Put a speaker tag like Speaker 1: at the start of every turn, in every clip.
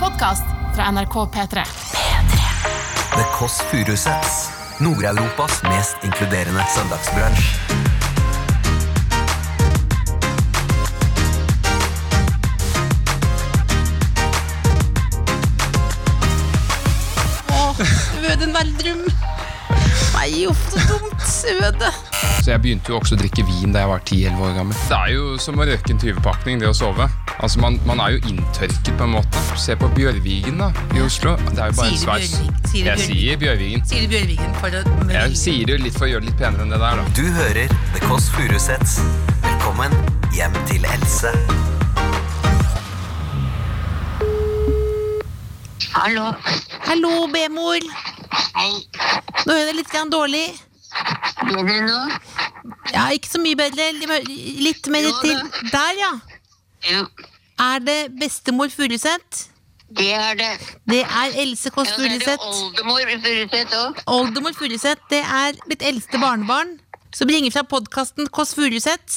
Speaker 1: podkast fra NRK P3.
Speaker 2: The Kåss Furuseths. Nord-Europas mest inkluderende søndagsbransj.
Speaker 3: Åh, Øden Veldrum. Nei, uff, så dumt. Øde.
Speaker 4: Så jeg begynte jo også å drikke vin da jeg var 10-11 år gammel. Det er jo som å røyke en 20-pakning, det å sove. Altså, man, man er jo inntørket på en måte. Se på Bjørvigen da, i Oslo. Det er jo bare en
Speaker 3: Sier du
Speaker 4: sveis.
Speaker 3: Bjørvik? Sier du
Speaker 4: Jeg
Speaker 3: Bjørvik?
Speaker 4: sier Bjørvigen.
Speaker 3: Sier Bjørvigen for å
Speaker 4: Jeg sier det jo litt for å gjøre det litt penere enn det der, da.
Speaker 2: Du hører The Kåss Furuseths. Velkommen hjem til Else.
Speaker 5: Hallo.
Speaker 3: Hallo, B-mor.
Speaker 5: Hei.
Speaker 3: Nå hører jeg litt grann dårlig.
Speaker 5: Gjør du noe?
Speaker 3: Ja, ikke så mye bedre. Li- Litt mer
Speaker 5: Jo,
Speaker 3: til.
Speaker 5: det.
Speaker 3: Der, ja.
Speaker 5: Ja,
Speaker 3: Er det bestemor Furuseth?
Speaker 5: det er det.
Speaker 3: Det er Else Kåss
Speaker 5: Ja, så er det
Speaker 3: Furuseth.
Speaker 5: oldemor Furuseth òg.
Speaker 3: Oldemor Furuseth, det er mitt eldste barnebarn, som ringer fra podkasten Kåss Furuseth.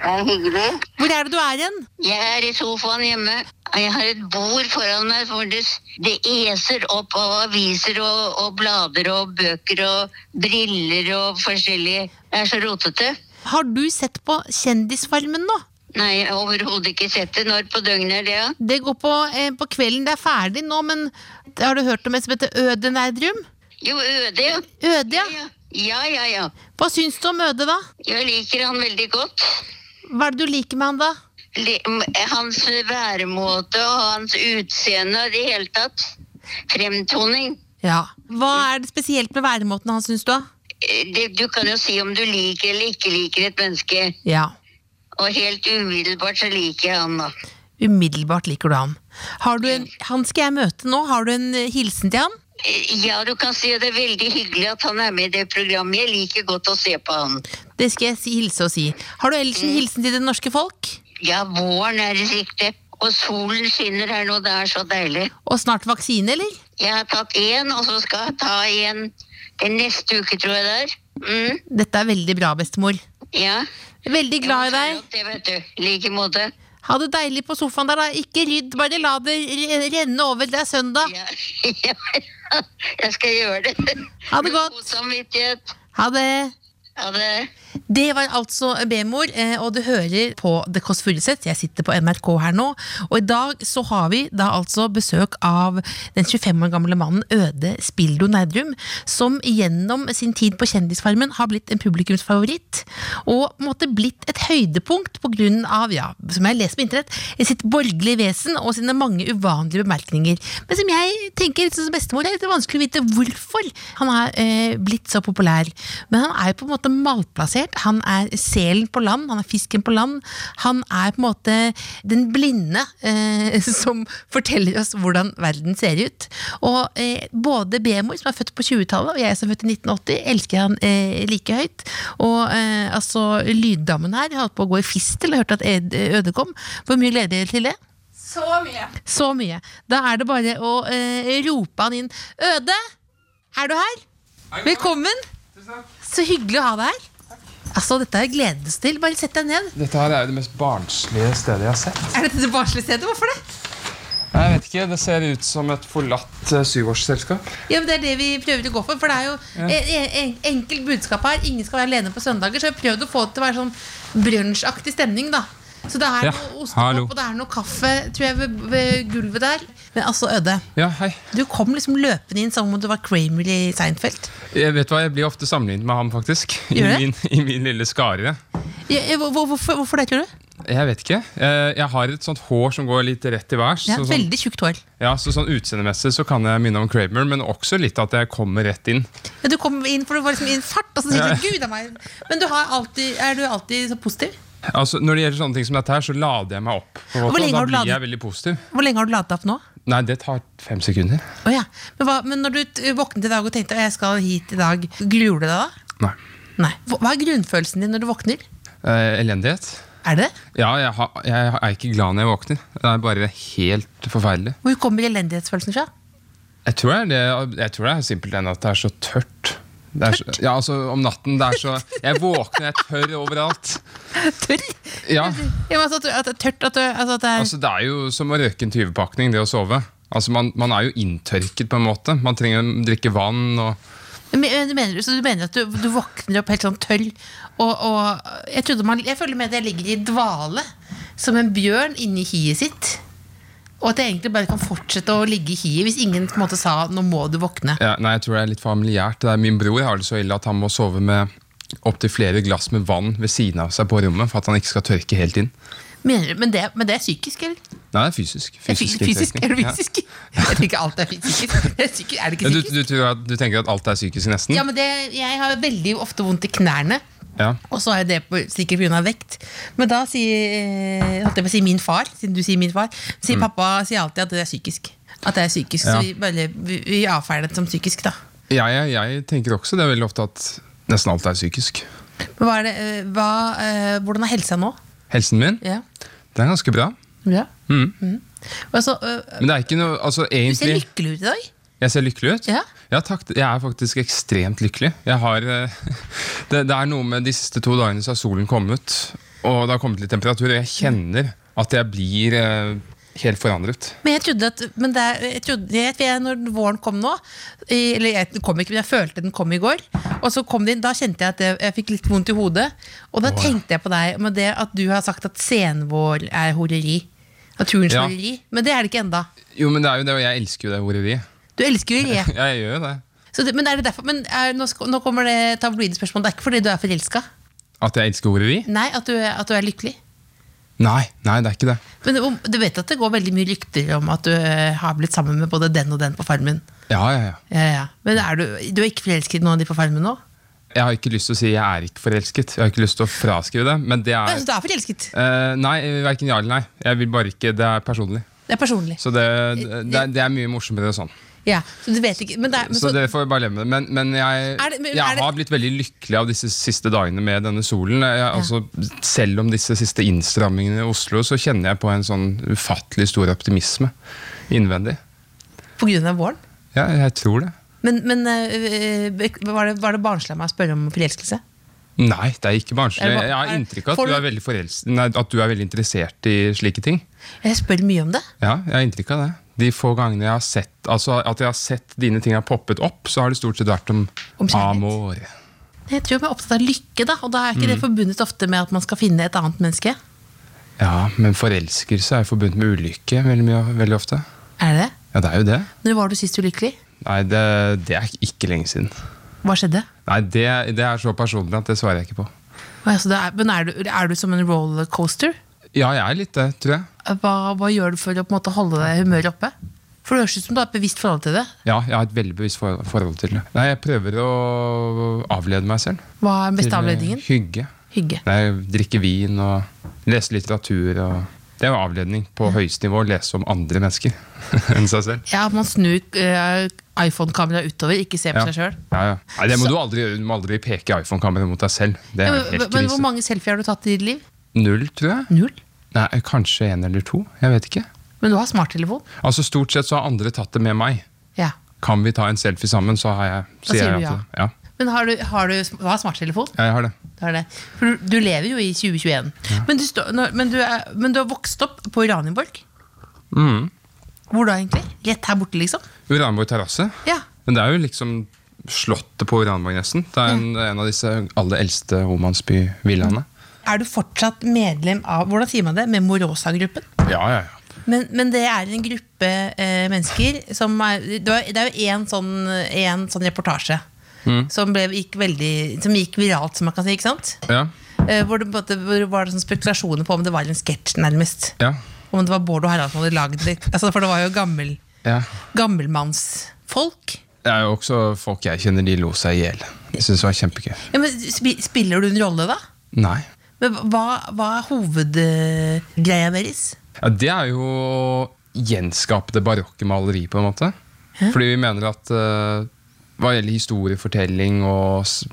Speaker 5: Det er hyggelig.
Speaker 3: Hvor er det du er hen?
Speaker 5: Jeg er i sofaen hjemme. og Jeg har et bord foran meg hvor det, s- det eser opp av aviser og, og blader og bøker og briller og forskjellige Jeg er så rotete.
Speaker 3: Har du sett på Kjendisfarmen nå?
Speaker 5: Nei, jeg har overhodet ikke sett det. Når på døgnet er det? Ja?
Speaker 3: Det går på, eh, på kvelden, det er ferdig nå, men har du hørt om en som heter Øde Nerdrum?
Speaker 5: Jo, Øde, ja.
Speaker 3: Øde, ja.
Speaker 5: Ja, ja, ja.
Speaker 3: Hva syns du om Øde, da?
Speaker 5: Jeg liker han veldig godt.
Speaker 3: Hva er det du liker med han, da?
Speaker 5: Le- m- eh, hans væremåte og hans utseende og det hele tatt. Fremtoning.
Speaker 3: Ja. Hva er det spesielt med væremåten hans, syns du? da?
Speaker 5: Eh, Det, du kan jo si om du liker eller ikke liker et menneske.
Speaker 3: Ja.
Speaker 5: Og helt umiddelbart så liker jeg han, da.
Speaker 3: Umiddelbart liker du han. Har du en, han skal jeg møte nå. Har du en eh, hilsen til han?
Speaker 5: Eh, Ja, du kan si at det er veldig hyggelig at han er med i det programmet. Jeg liker godt å se på han.
Speaker 3: Det skal jeg si, hilse og si. Har du ellers en hilsen til det norske folk?
Speaker 5: Ja, våren er i sikte. Og solen skinner her nå, det er så deilig.
Speaker 3: Og snart vaksine, eller?
Speaker 5: Jeg har tatt én, og så skal jeg ta en den neste uke, tror jeg det er. Mm,
Speaker 3: Dette er veldig bra, bestemor.
Speaker 5: ja.
Speaker 3: Veldig glad i
Speaker 5: Jeg
Speaker 3: deg.
Speaker 5: må følge opp Det vet du. I like måte.
Speaker 3: Ha det deilig på sofaen der, da. Ikke rydd, bare la det re- renne over. Det er søndag.
Speaker 5: Ja, ja, jeg skal gjøre det.
Speaker 3: Ha det godt.
Speaker 5: God samvittighet.
Speaker 3: Ha det.
Speaker 5: Ha det.
Speaker 3: Det var altså B-mor, eh, og du hører på The Kåss Furuseth. Jeg sitter på NRK her nå, og i dag så har vi da altså besøk av den 25 år gamle mannen Øde Spildo Nerdrum, som gjennom sin tid på Kjendisfarmen har blitt en publikumsfavoritt, og på en måte blitt et høydepunkt på grunn av, ja, som jeg leser på internett, sitt borgerlige vesen og sine mange uvanlige bemerkninger. Men som jeg tenker, litt sånn som bestemor, det er litt vanskelig å vite hvorfor han er eh, blitt så populær. Men han er jo på en måte malplassert. Han er selen på land, han er fisken på land. Han er på en måte den blinde eh, som forteller oss hvordan verden ser ut. Og eh, både Bemor, som er født på 20-tallet, og jeg som er født i 1980, elsker han eh, like høyt. Og eh, altså, lyddammen her holdt på å gå i fistel og hørte at Ed eh, Øde kom. Hvor mye gleder dere til det? Så mye. Da er det bare å eh, rope han inn. Øde, er du her? Velkommen. Så hyggelig å ha deg her. Altså, Dette er gledes til. Bare sett deg ned.
Speaker 4: Dette her er jo det mest barnslige stedet jeg har sett.
Speaker 3: Er dette det barnslige stedet? Hvorfor det?
Speaker 4: Nei, Jeg vet ikke, det ser ut som et forlatt eh, syvårsselskap.
Speaker 3: Ja, men Det er det vi prøver å gå for. For det er jo e- e- en, enkelt budskap her. Ingen skal være alene på søndager. Så vi har prøvd å få det til å være sånn brunsjaktig stemning, da. Så det er
Speaker 4: Ja,
Speaker 3: noe
Speaker 4: hallo.
Speaker 3: ostepopp og det er noe kaffe tror jeg, ved, ved gulvet der. Men altså, Øde,
Speaker 4: Ja, hei.
Speaker 3: du kom liksom løpende inn som om du var Kramer i Seinfeld.
Speaker 4: Jeg vet hva, jeg blir ofte sammenlignet med ham, faktisk. I
Speaker 3: Gjør det?
Speaker 4: min, i min lille skare.
Speaker 3: Ja, ja, hvor, hvorfor, hvorfor det, tror du?
Speaker 4: Jeg vet ikke. Eh, Jeg har et sånt hår som går litt rett i værs.
Speaker 3: Ja,
Speaker 4: så sånn,
Speaker 3: veldig tjukt hår.
Speaker 4: ja, så sånn utseendemessig så kan jeg minne om Kramer, men også litt at jeg kommer rett inn.
Speaker 3: Ja, du kom inn for du var liksom i en fart, og så sier
Speaker 4: Ja.
Speaker 3: du 'gud a meg'. Men du har alltid, er du alltid så positiv?
Speaker 4: Altså, Når det gjelder sånne ting som dette her, så lader jeg meg opp. på en måte,
Speaker 3: Hvor lenge
Speaker 4: og da
Speaker 3: har du
Speaker 4: blir
Speaker 3: ladet?
Speaker 4: jeg veldig positiv.
Speaker 3: Hvor lenge har du ladet opp nå?
Speaker 4: Nei, det tar fem sekunder.
Speaker 3: Å ja. men, hva, men når du t- våknet i dag og tenkte 'jeg skal hit i dag', gruer du deg da?
Speaker 4: Nei.
Speaker 3: Nei. Hva hva er grunnfølelsen din når du våkner?
Speaker 4: Eh, elendighet.
Speaker 3: Er det det?
Speaker 4: Ja, jeg, har, jeg er ikke glad når jeg våkner. Det er bare helt forferdelig.
Speaker 3: Hvor kommer elendighetsfølelsen fra?
Speaker 4: Jeg tror det er, det, jeg tror det er simpelthen at det er så tørt. Det er så, ja, altså om natten, det er så Jeg våkner, jeg tørr overalt.
Speaker 3: Tørr?
Speaker 4: Ja,
Speaker 3: Ja, men altså, at, du- at, det er tørt, at, du, altså, at det er
Speaker 4: altså Det er jo som å røyke en 20-pakning, det å sove. Altså man, man er jo inntørket på en måte. Man trenger å drikke vann og
Speaker 3: Men, men du mener, så du mener at du, du våkner opp helt sånn tørr og, og jeg, trodde man, jeg føler med at jeg ligger i dvale Som en bjørn inni hiet sitt Og at jeg egentlig bare kan fortsette å ligge i hiet Hvis ingen på en måte sa Nå må du våkne
Speaker 4: ja, Nei, jeg tror det er litt familiært. Det er min bror har det så ille at han må sove med opptil flere glass med vann ved siden av seg på rommet for at han ikke skal tørke helt inn.
Speaker 3: mener, du- men, det, men det er psykisk, eller?
Speaker 4: Nei, det er fysisk.
Speaker 3: Det er fy-
Speaker 4: inntørkning.
Speaker 3: fysisk eller
Speaker 4: Ja.
Speaker 3: fysisk? Jeg tenker alt er fysisk Det er, psykisk, er det ikke
Speaker 4: Du,
Speaker 3: psykisk?
Speaker 4: du, tror at, du tenker at alt er psykisk nesten?
Speaker 3: Ja, men det, jeg har veldig ofte vondt i knærne
Speaker 4: Ja.
Speaker 3: Og så er det på, sikkert pga. vekt. Men da sier eh, holdt jeg på å si min far, siden du sier min far, sier pappa sier alltid at det er psykisk. At det er psykisk,
Speaker 4: Mm. Ja.
Speaker 3: Så vi, bare, vi, vi avfeier det som psykisk, da.
Speaker 4: Jeg, jeg, jeg tenker også det er veldig ofte at nesten alt er psykisk.
Speaker 3: Men hva er det, eh, hva, eh, hvordan er helsa nå?
Speaker 4: Helsen min,
Speaker 3: Ja.
Speaker 4: det er ganske bra.
Speaker 3: ja.
Speaker 4: Mm.
Speaker 3: Altså, eh,
Speaker 4: Men det er ikke noe altså,
Speaker 3: du ser
Speaker 4: egentlig,
Speaker 3: lykkelig ut i dag.
Speaker 4: Jeg ser lykkelig ut?
Speaker 3: Ja.
Speaker 4: takk. Jeg er faktisk ekstremt lykkelig. Jeg har, eh, det, det er noe med de siste to dagene så har solen kommet, og det har kommet litt temperatur, og jeg kjenner at jeg blir eh, helt forandret.
Speaker 3: Men jeg trodde at men det, er- jeg trodde, jeg, vet, jeg, Når våren kom nå i- Eller jeg den kom ikke, men jeg følte den kom i går. Og så kom den, Da kjente jeg at jeg, jeg fikk litt vondt i hodet. Og da tenkte jeg på deg med det at du har sagt at senvår er horeri. Naturens
Speaker 4: Ja.
Speaker 3: horeri. Men det er det ikke enda
Speaker 4: Jo, men det er jo det, og jeg elsker jo det horeriet.
Speaker 3: Du elsker jo re.
Speaker 4: Ja, jeg gjør jo det.
Speaker 3: Så det, men er det derfor, men er, nå, sk- nå kommer det tabloide spørsmål. Det er ikke fordi du er forelska.
Speaker 4: At jeg elsker horeri?
Speaker 3: Nei, at du, er- at du er lykkelig.
Speaker 4: Nei, nei, det er ikke det.
Speaker 3: Men om- du vet at det går veldig mye rykter om at du eh, har blitt sammen med både den og den på Farmen.
Speaker 4: Ja, ja, ja.
Speaker 3: Ja, ja. Men er du, du er ikke forelsket i noen av de på Farmen nå?
Speaker 4: Jeg har ikke lyst til å si jeg er ikke forelsket. Jeg har ikke lyst til å fraskrive det. Men det
Speaker 3: Nei.
Speaker 4: er
Speaker 3: Så du er forelsket?
Speaker 4: eh, Nei, verken ja eller nei. Jeg vil bare ikke, Det er personlig.
Speaker 3: Det er personlig.
Speaker 4: Så det, det, det er mye morsommere og sånn.
Speaker 3: Ja, så du vet ikke Men, det er, men så,
Speaker 4: Så det får jeg bare leve med. Men, men jeg,
Speaker 3: Er det- men er
Speaker 4: jeg
Speaker 3: det-
Speaker 4: har blitt veldig lykkelig av disse siste dagene med denne solen. Jeg, altså, selv om disse siste innstrammingene i Oslo, så kjenner jeg på en sånn ufattelig stor optimisme innvendig.
Speaker 3: på grunn av våren?
Speaker 4: Ja, jeg tror det.
Speaker 3: Men, men øh, øh, var det, var det barnslig av meg å spørre om forelskelse?
Speaker 4: Nei, det er ikke barnslig.
Speaker 3: Er det ba-
Speaker 4: Jeg har
Speaker 3: er-
Speaker 4: inntrykk av
Speaker 3: får
Speaker 4: at du
Speaker 3: du-
Speaker 4: er veldig forels- nei, at du er veldig interessert i slike ting.
Speaker 3: Jeg spør mye om det.
Speaker 4: Ja, jeg har inntrykk av det. De få gangene jeg har sett Altså at jeg har sett dine ting har poppet opp, så har det stort sett vært om,
Speaker 3: Om kjærlighet.
Speaker 4: amor.
Speaker 3: Jeg tror jeg er opptatt av lykke, da og da er ikke
Speaker 4: Mm.
Speaker 3: det forbundet ofte med at man skal finne et annet menneske.
Speaker 4: Ja, men forelskelse er jo forbundet med ulykke veldig, mye, veldig ofte.
Speaker 3: Er det det?
Speaker 4: Ja, det er jo det.
Speaker 3: Når var du sist ulykkelig?
Speaker 4: Nei, det, det er ikke lenge siden.
Speaker 3: Hva skjedde?
Speaker 4: Nei, det, det er så personlig at det svarer jeg ikke på.
Speaker 3: Å, ja, så det er, men er du, er du som en rollercoaster?
Speaker 4: Ja, jeg er litt det, tror jeg.
Speaker 3: Hva, hva gjør du for å på en måte holde deg humøret oppe? For det høres ut som du har et bevisst forhold til det.
Speaker 4: Ja, jeg har et veldig bevisst for- forhold til det. Nei, jeg prøver å avlede meg selv.
Speaker 3: Hva er den
Speaker 4: Til,
Speaker 3: beste
Speaker 4: eh,
Speaker 3: avledningen?
Speaker 4: Hygge.
Speaker 3: Hygge.
Speaker 4: Nei, drikke vin og lese litteratur. Og det er jo avledning på høyeste nivå. Lese om andre mennesker enn seg selv.
Speaker 3: Ja, at man snur eh, iPhone-kameraet utover, ikke ser på seg sjøl.
Speaker 4: Ja, ja. Nei, det må du aldri gjøre. Du må aldri peke iPhone-kameraet mot deg selv. Det
Speaker 3: Ja,
Speaker 4: er
Speaker 3: men,
Speaker 4: helt
Speaker 3: men hvor
Speaker 4: krise.
Speaker 3: mange selfier har du tatt i ditt liv?
Speaker 4: Null, tror jeg.
Speaker 3: Null.
Speaker 4: Nei, Kanskje én eller to. Jeg vet ikke.
Speaker 3: Men du har smarttelefon?
Speaker 4: Altså Stort sett så har andre tatt det med meg.
Speaker 3: Ja.
Speaker 4: Kan vi ta en selfie sammen, så har jeg,
Speaker 3: Da sier du
Speaker 4: jeg at- ja.
Speaker 3: Men har du, har du, du har smarttelefon?
Speaker 4: Ja, jeg har det.
Speaker 3: Du, har det. For du, du lever jo i 2021. Men, du står- nå- men, du er, men du har vokst opp på Uranienborg?
Speaker 4: Mm.
Speaker 3: Hvor da, egentlig? Rett her borte, liksom?
Speaker 4: Uranborg terrasse.
Speaker 3: Ja.
Speaker 4: Men det er jo liksom slottet på Uranborg, nesten. Det er en, en av disse aller eldste romansbyvillaene.
Speaker 3: Er du fortsatt medlem av hvordan sier man det, Memorosa-gruppen?
Speaker 4: Ja, ja, ja.
Speaker 3: Men, men det er en gruppe eh, mennesker som er, det var- Det er jo én sånn, en sånn reportasje
Speaker 4: Mm.
Speaker 3: som, ble, gikk veldig, som gikk viralt, som man kan si. ikke sant?
Speaker 4: ja.
Speaker 3: Eh, hvor det, på en måte- hvor det var sånn spekulasjoner på om det var en sketsj, nærmest.
Speaker 4: ja.
Speaker 3: Om det var Bård og Harald som hadde lagd det. Altså, for det var jo gammel,
Speaker 4: ja.
Speaker 3: gammelmannsfolk.
Speaker 4: Det er jo også folk jeg kjenner, de lo seg i hjel. Jeg syns det var kjempegøy.
Speaker 3: Ja, men spi- spiller du en rolle, da?
Speaker 4: Nei.
Speaker 3: Men hva, hva er hovedgreia deres?
Speaker 4: Ja, det er jo å gjenskape det barokke maleriet, på en måte. Fordi vi mener at eh, hva gjelder historiefortelling og s-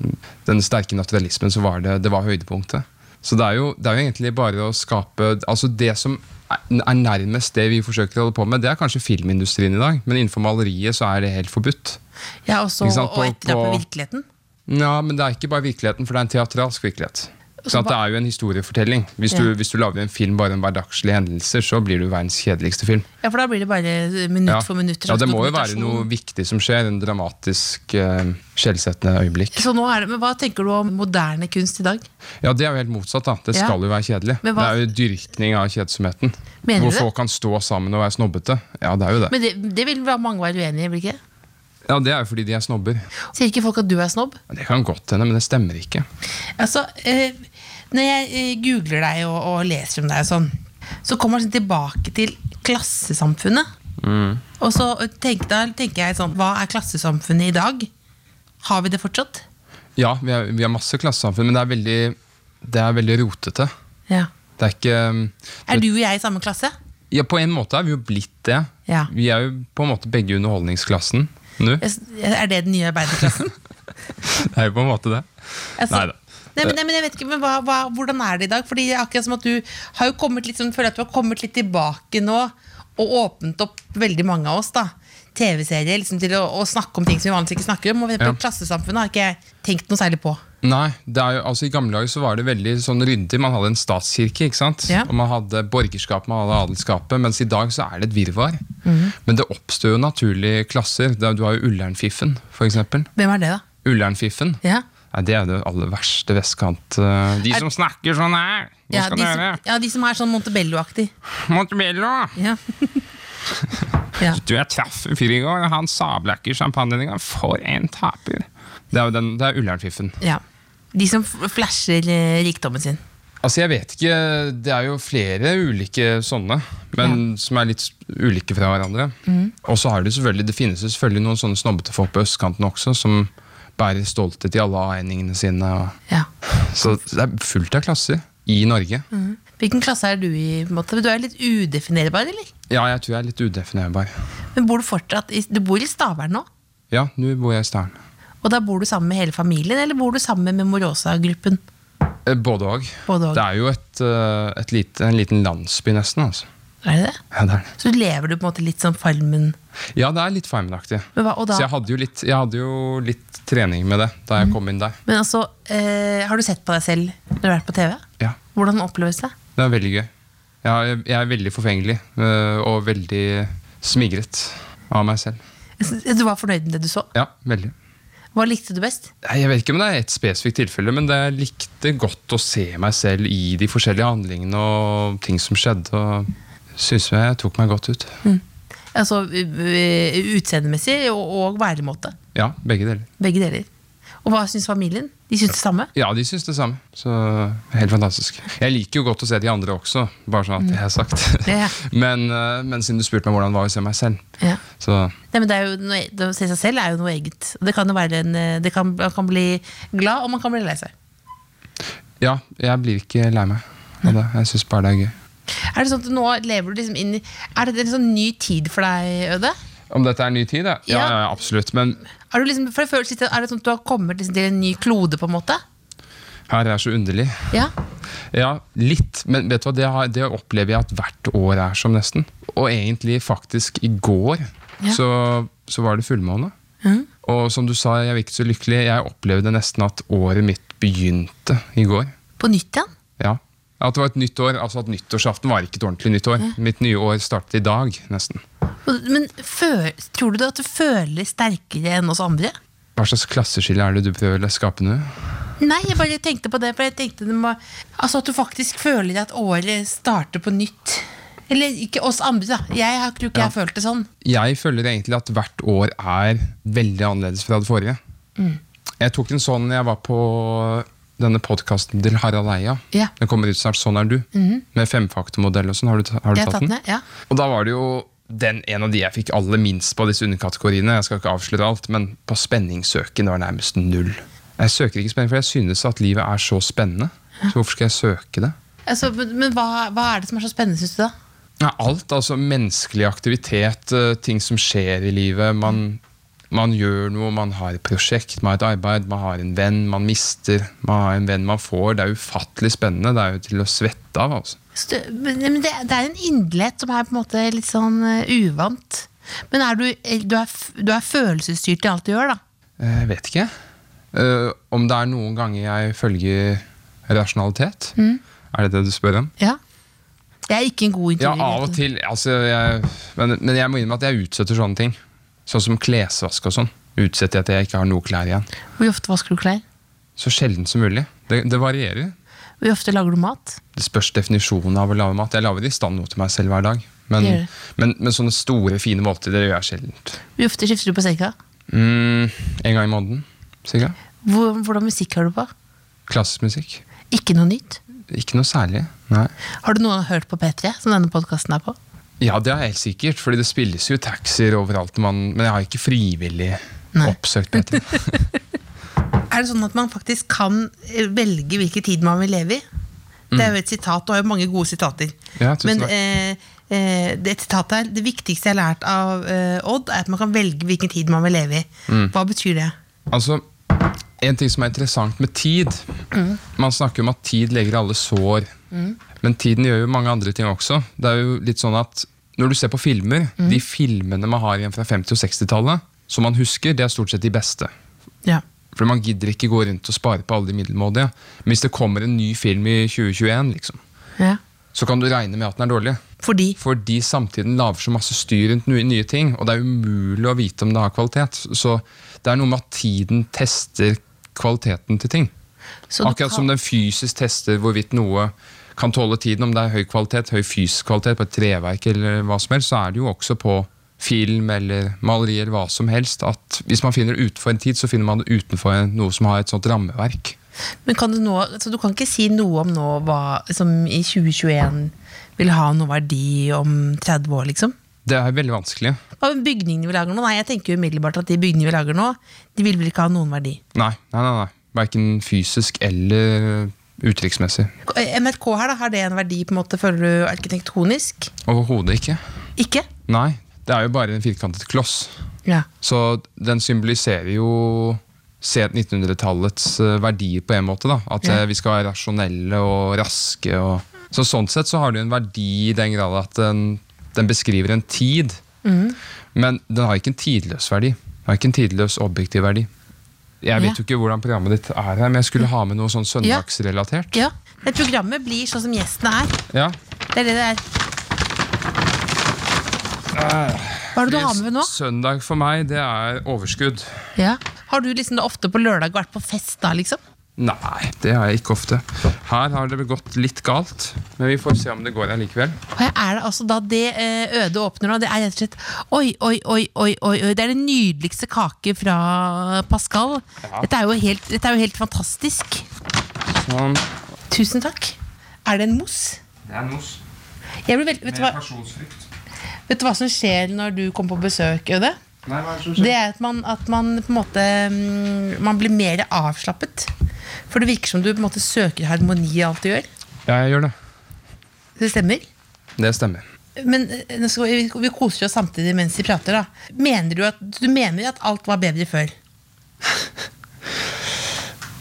Speaker 4: den sterke naturalismen, så var det, det var høydepunktet. Så det er, jo, det er jo egentlig bare å skape Altså Det som er er nærmest det vi forsøker å holde på med, det er kanskje filmindustrien i dag. Men innenfor maleriet så er det helt forbudt.
Speaker 3: Ja, også,
Speaker 4: Ikke sant,
Speaker 3: og
Speaker 4: på-
Speaker 3: etter det på
Speaker 4: på-
Speaker 3: virkeligheten.
Speaker 4: Ja, Men det er ikke bare virkeligheten, for det er en teatralsk virkelighet. Sånn at det er jo en historiefortelling. Hvis du, hvis du lager en film bare om hverdagslige hendelser, så blir du verdens kjedeligste film.
Speaker 3: Ja, for da blir det bare minutt
Speaker 4: Ja.
Speaker 3: for minutt.
Speaker 4: ja,
Speaker 3: slags
Speaker 4: Det må jo være
Speaker 3: dokumentasjon.
Speaker 4: noe viktig som skjer. En dramatisk, eh, skjellsettende øyeblikk.
Speaker 3: Så nå er det, men Hva tenker du om moderne kunst i dag?
Speaker 4: Ja, Det er jo helt motsatt. da. Det
Speaker 3: Ja.
Speaker 4: skal jo være kjedelig.
Speaker 3: Men
Speaker 4: Det
Speaker 3: hva-
Speaker 4: er jo dyrkning av kjedsomheten.
Speaker 3: Mener du
Speaker 4: Hvor
Speaker 3: det?
Speaker 4: folk kan stå sammen og være snobbete. Ja, det er jo det.
Speaker 3: Men Det, det vil være- mange være uenige i. blir det ikke?
Speaker 4: Ja, Det er jo fordi de er snobber.
Speaker 3: Sier ikke folk at du er snobb?
Speaker 4: Det kan godt hende, men det stemmer ikke.
Speaker 3: Altså, eh, Når jeg eh, googler deg og, og leser om deg, og sånn, så kommer man sånn tilbake til klassesamfunnet. Og så tenk, da tenker jeg sånn Hva er klassesamfunnet i dag? Har vi det fortsatt?
Speaker 4: Ja, vi har, vi har masse klassesamfunn, men det er veldig, det er veldig rotete.
Speaker 3: Ja.
Speaker 4: Det er ikke
Speaker 3: Er du og jeg i samme klasse?
Speaker 4: Ja, På en måte er vi jo blitt det.
Speaker 3: Ja.
Speaker 4: Vi er jo på en måte begge i underholdningsklassen nå.
Speaker 3: Jeg s- Er det den nye arbeiderklassen?
Speaker 4: Det er jo på en måte det.
Speaker 3: Altså,
Speaker 4: Neida.
Speaker 3: Nei, men, nei, men jeg vet ikke, men hva, hva, Hvordan er det i dag? Fordi det er akkurat som at Du har jo kommet litt, sånn- føler at du har kommet litt tilbake nå og åpnet opp veldig mange av oss. da TV-serier liksom til å, å snakke om ting som vi vanligvis ikke snakker om. Og for eksempel
Speaker 4: Ja.
Speaker 3: Klassesamfunnet har ikke jeg tenkt noe særlig på.
Speaker 4: Nei, det er jo, altså I gamle dager så var det veldig sånn ryddig. Man hadde en statskirke. ikke sant?
Speaker 3: Ja.
Speaker 4: Og Man hadde borgerskap, man hadde adelskapet. Mens i dag så er det et virvar.
Speaker 3: Mhm.
Speaker 4: Men det oppstår jo naturlige klasser. Det er- Du har jo Ullernfiffen, f.eks.
Speaker 3: Hvem er det, da?
Speaker 4: Ullernfiffen.
Speaker 3: Ja,
Speaker 4: Nei, det er jo det aller verste vestkant... eh, De
Speaker 3: Er-
Speaker 4: som snakker sånn her! Nå
Speaker 3: ja,
Speaker 4: skal
Speaker 3: de,
Speaker 4: dere
Speaker 3: som, ja de som er sånn Montebello-aktig.
Speaker 4: Montebello!
Speaker 3: Ja. ja.
Speaker 4: Du, jeg traff en fyr i går, og han sablakker champagnen i gang. For en taper! Det er jo den, det er Ullernfiffen.
Speaker 3: ja. De som f- flasher eh, rikdommen sin.
Speaker 4: Altså, jeg vet ikke, Det er jo flere ulike sånne, men som er litt ulike fra hverandre.
Speaker 3: Mhm.
Speaker 4: Og så har Det selvfølgelig, det finnes jo selvfølgelig noen sånne snobbete folk på østkanten også, som bærer stolthet i alle avregningene sine. og-
Speaker 3: Ja.
Speaker 4: Så det er fullt av klasser i Norge.
Speaker 3: Mhm. Hvilken klasse er du i? på en måte? Du er litt udefinerbar, eller?
Speaker 4: Ja, jeg tror jeg er litt udefinerbar.
Speaker 3: Men bor du fortsatt i, Du bor i Stavern nå?
Speaker 4: Ja, nå bor jeg i Stern.
Speaker 3: Og da bor du sammen med hele familien, eller bor du sammen med Morosa-gruppen?
Speaker 4: Eh, Både òg.
Speaker 3: Både og.
Speaker 4: Det er jo et, eh, et lite, en liten landsby, nesten. altså.
Speaker 3: Er det det?
Speaker 4: Ja, det er det.
Speaker 3: Så lever du på en måte litt sånn Farmen
Speaker 4: Ja, det er litt Farmen-aktig.
Speaker 3: Men hva- og da-
Speaker 4: Så jeg hadde, jo litt, jeg hadde jo litt trening med det da jeg kom inn der.
Speaker 3: Men altså, eh, har du sett på deg selv når du har vært på TV?
Speaker 4: Ja.
Speaker 3: Hvordan oppleves det?
Speaker 4: Det er veldig gøy. Jeg er, jeg er veldig forfengelig øh, og veldig smigret av meg selv.
Speaker 3: Du var fornøyd med det du så?
Speaker 4: Ja, veldig.
Speaker 3: Hva likte du best?
Speaker 4: Nei, Jeg vet ikke om det er et spesifikt tilfelle, men det jeg likte godt å se meg selv i de forskjellige handlingene og ting som skjedde. og Syns jeg jeg tok meg godt ut.
Speaker 3: Altså u- u- utseendemessig og, og væremåte.
Speaker 4: Ja, begge deler.
Speaker 3: Begge deler. Og hva syns familien? De syns det samme?
Speaker 4: Ja, de syns det samme. Så helt fantastisk. Jeg liker jo godt å se de andre også, bare sånn at det er sagt.
Speaker 3: Mm. Ja.
Speaker 4: Men, øh, men siden du spurte meg hvordan det var å se meg selv,
Speaker 3: Ja.
Speaker 4: så
Speaker 3: Nei, men det er jo noe, e- det å se seg selv er jo noe eget. Og Det kan jo være en, eh, det kan, man kan bli glad, og man kan bli lei seg.
Speaker 4: ja, jeg blir ikke lei meg av det. Jeg syns bare det er gøy.
Speaker 3: Er det sånn at nå lever du liksom inn i Er det en sånn ny tid for deg, Øde?
Speaker 4: Om dette er en ny tid, ja? Ja,
Speaker 3: Ja.
Speaker 4: ja, ja absolutt. Men
Speaker 3: Er, du liksom, for det føles litt, er det sånn at du har kommet liksom til en ny klode, på en måte?
Speaker 4: her er så underlig.
Speaker 3: Ja.
Speaker 4: Ja, litt, men vet du hva, det, har, det opplever jeg at hvert år er som nesten. Og egentlig faktisk i går
Speaker 3: Ja.
Speaker 4: så, så var det fullmåne. Og som du sa, jeg var ikke så lykkelig. Jeg opplevde nesten at året mitt begynte i går.
Speaker 3: På nytt igjen?
Speaker 4: Ja. At det var et nytt år, altså at nyttårsaften var ikke et ordentlig nytt år. Mitt nye år startet i dag, nesten.
Speaker 3: Og- Men fø- tror du det at du føler sterkere enn oss andre?
Speaker 4: Hva slags klasseskille er det du prøver å skape nå?
Speaker 3: Nei, jeg bare tenkte på det. For jeg tenkte det må, altså At du faktisk føler at året starter på nytt. Eller ikke oss andre, da. Jeg har tror ikke jeg har følt det sånn.
Speaker 4: jeg føler egentlig at hvert år er veldig annerledes fra det forrige.
Speaker 3: Mm.
Speaker 4: Jeg tok en sånn jeg var på denne podkasten til Harald Eia.
Speaker 3: Ja. Mhm.
Speaker 4: Den kommer ut snart, 'Sånn er du', med femfaktormodell og sånn. Har du, ta- har du
Speaker 3: Jeg
Speaker 4: tatt,
Speaker 3: har tatt
Speaker 4: den?
Speaker 3: ned, ja.
Speaker 4: Og da var det jo den, en av de jeg fikk aller minst på disse underkategoriene. Jeg skal ikke avsløre alt, men på spenningssøken det var nærmest null. Jeg søker ikke spenning, for jeg synes at livet er så spennende. Så hvorfor skal jeg søke det?
Speaker 3: Altså, men men hva, hva er det som er så spennende, syns du, da?
Speaker 4: Ja, alt. Altså menneskelig aktivitet, eh, ting som skjer i livet. Man, man gjør noe, man har et prosjekt, man har et arbeid, man har en venn man mister. Man har en venn man får. Det er ufattelig spennende. Det er jo til å svette av. altså.
Speaker 3: Så det- Men men det, det er en inderlighet som er på en måte litt sånn eh, uvant. Men er du, eh, du, er, f- du er følelsesstyrt i alt du gjør, da?
Speaker 4: Eh, Jeg vet ikke eh, om det er noen ganger jeg følger rasjonalitet? Er det det du spør om?
Speaker 3: Ja. Jeg er ikke en god
Speaker 4: Ja,
Speaker 3: intervjuer.
Speaker 4: av og til. Altså, jeg, men, men jeg må innrømme at jeg utsetter sånne ting. Sånn som klesvask og sånn. Utsetter jeg til jeg ikke har noe klær igjen.
Speaker 3: Hvor ofte vasker du klær?
Speaker 4: Så sjelden som mulig. Det, det varierer.
Speaker 3: Hvor ofte lager du mat?
Speaker 4: Det spørs definisjonen av å lage mat. Jeg lager i stand noe til meg selv hver dag. Men,
Speaker 3: Gjør det.
Speaker 4: men, men sånne store, fine måltider gjør jeg sjelden.
Speaker 3: Hvor ofte skifter du på senga?
Speaker 4: Mm, en gang i måneden, sikkert.
Speaker 3: Hvor, hvordan musikk hører du på?
Speaker 4: Klassisk musikk.
Speaker 3: Ikke noe nytt?
Speaker 4: Ikke noe særlig. Nei.
Speaker 3: Har du noen hørt på P3, som denne podkasten er på?
Speaker 4: Ja, det er helt sikkert, fordi det spilles jo taxier overalt. Man, men jeg har ikke frivillig
Speaker 3: Nei.
Speaker 4: oppsøkt dette.
Speaker 3: Er det sånn at man faktisk kan eh, velge hvilken tid man vil leve i? Det er jo et sitat, og jeg har jo mange gode sitater.
Speaker 4: Mm. Ja, tusen
Speaker 3: Men
Speaker 4: takk.
Speaker 3: eh, eh, det, sitatet her, det viktigste jeg har lært av eh, Odd, er at man kan velge hvilken tid man vil leve i.
Speaker 4: Mm.
Speaker 3: Hva betyr det?
Speaker 4: Altså, en ting som er interessant med tid Man snakker om at tid leger alle sår. Men tiden gjør jo mange andre ting også. Det er jo litt sånn at Når du ser på filmer, de filmene man har igjen fra 50- og 60-tallet, som man husker, det er stort sett de beste.
Speaker 3: Ja.
Speaker 4: For man gidder ikke gå rundt og spare på alle de middelmådige. Men hvis det kommer en ny film i 2021, liksom, så kan du regne med at den er dårlig.
Speaker 3: Fordi
Speaker 4: fordi samtiden lager så masse styr rundt nye, nye ting, og det er umulig å vite om det har kvalitet. Så det er noe med at tiden tester kvaliteten til ting.
Speaker 3: så du
Speaker 4: Akkurat
Speaker 3: kan-
Speaker 4: som den fysisk tester hvorvidt noe kan tåle tiden, om det er høy kvalitet, høy fysisk kvalitet på et treverk eller hva som helst, så er det jo også på film eller maleri eller hva som helst at hvis man finner det utenfor en tid, så finner man det utenfor en- noe som har et sånt rammeverk.
Speaker 3: Men kan du nå, så du kan ikke si noe om nå hva som i 2021 vil ha noe verdi om 30 år, liksom?
Speaker 4: Det er veldig vanskelig.
Speaker 3: Hva med bygningene vi lager nå? Nei, jeg tenker jo umiddelbart at de bygningene vi lager nå, de vil vel ikke ha noen verdi.
Speaker 4: Nei, nei, nei. nei. Verken fysisk eller uttrykksmessig.
Speaker 3: MRK her, da, har det en verdi, på en måte, føler du, arkitektonisk?
Speaker 4: Overhodet ikke.
Speaker 3: Ikke?
Speaker 4: Nei, det er jo bare en firkantet kloss.
Speaker 3: Ja.
Speaker 4: Så den symboliserer jo se- 1900-tallets eh, verdier på en måte. da. At eh, vi skal være rasjonelle og raske. og... Så Sånn sett så har det jo en verdi i den grad at den, den beskriver en tid.
Speaker 3: Mm.
Speaker 4: Men den har ikke en tidløs verdi. Den har ikke en tidløs objektiv verdi. Jeg vet
Speaker 3: Ja. Mm.
Speaker 4: jo ikke hvordan programmet ditt er her, men jeg skulle ha med noe sånn søndagsrelatert.
Speaker 3: ja. Men programmet blir sånn som gjestene er.
Speaker 4: Ja.
Speaker 3: Det er det det er. Ah, Hva er det du har med nå?
Speaker 4: Søndag for meg, det er overskudd.
Speaker 3: Ja. Har du liksom det ofte på lørdag vært på fest da, liksom?
Speaker 4: Nei, det har jeg ikke ofte. Her har det gått litt galt, men vi får se om det går allikevel.
Speaker 3: Og her er det altså da det eh, Øde åpner nå, det er rett og slett Oi, oi, oi, oi, oi, oi. Det er den nydeligste kake fra Pascal. Dette, er jo helt, dette er jo helt fantastisk.
Speaker 4: Sånn.
Speaker 3: Tusen takk. Er det en mousse?
Speaker 4: Det er nos
Speaker 3: Jeg blir veld... vet, du hva,
Speaker 4: personsfrykt.
Speaker 3: vet du hva som skjer når du kommer på besøk, Øde?
Speaker 4: Nei, hva er det som
Speaker 3: Det er at man, at man på en måte mm, Man blir mer avslappet. For det virker som du på en måte søker harmoni i alt du gjør.
Speaker 4: Ja, jeg gjør det.
Speaker 3: Det stemmer.
Speaker 4: Det stemmer.
Speaker 3: Men eh, nå skal vi, vi koser oss samtidig mens vi prater. da Mener du at, du mener at alt var bedre før?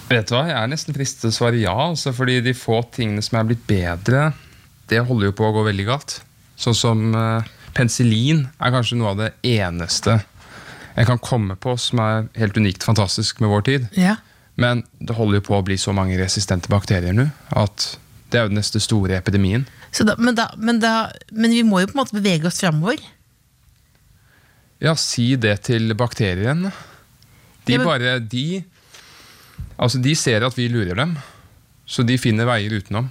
Speaker 4: Vet du hva, Jeg er nesten fristet til å svare ja, altså, fordi de få tingene som er blitt bedre, det holder jo på å gå veldig galt. Sånn som eh, penicillin er kanskje noe av det eneste jeg kan komme på som er helt unikt fantastisk med vår tid.
Speaker 3: Ja.
Speaker 4: Men det holder jo på å bli så mange resistente bakterier nå at det er jo den neste store epidemien.
Speaker 3: Så da, men, da, men, da, men vi må jo på en måte bevege oss framover.
Speaker 4: Ja, si det til bakteriene. De
Speaker 3: Ja, men-
Speaker 4: bare de, altså de ser at vi lurer dem, så de finner veier utenom.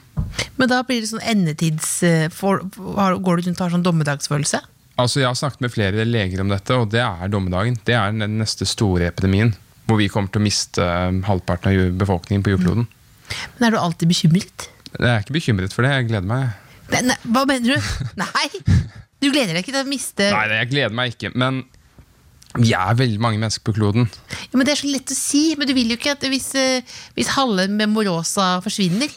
Speaker 3: Men da blir det sånn endetids eh, for, har- Går du rundt og har sånn dommedagsfølelse?
Speaker 4: Altså Jeg har snakket med flere leger om dette, og det er dommedagen. Det er den neste store epidemien, hvor vi kommer til å miste eh, halvparten av ju- befolkningen på jordkloden.
Speaker 3: Men er du alltid bekymret?
Speaker 4: Jeg er ikke bekymret for det. Jeg gleder meg.
Speaker 3: Nei, nei, hva mener du? Nei! Du gleder deg ikke til å miste
Speaker 4: Nei, jeg gleder meg ikke, men vi er veldig mange mennesker på kloden.
Speaker 3: ja, men Det er så lett å si, men du vil jo ikke at hvis, eh, hvis halve Memorosa forsvinner,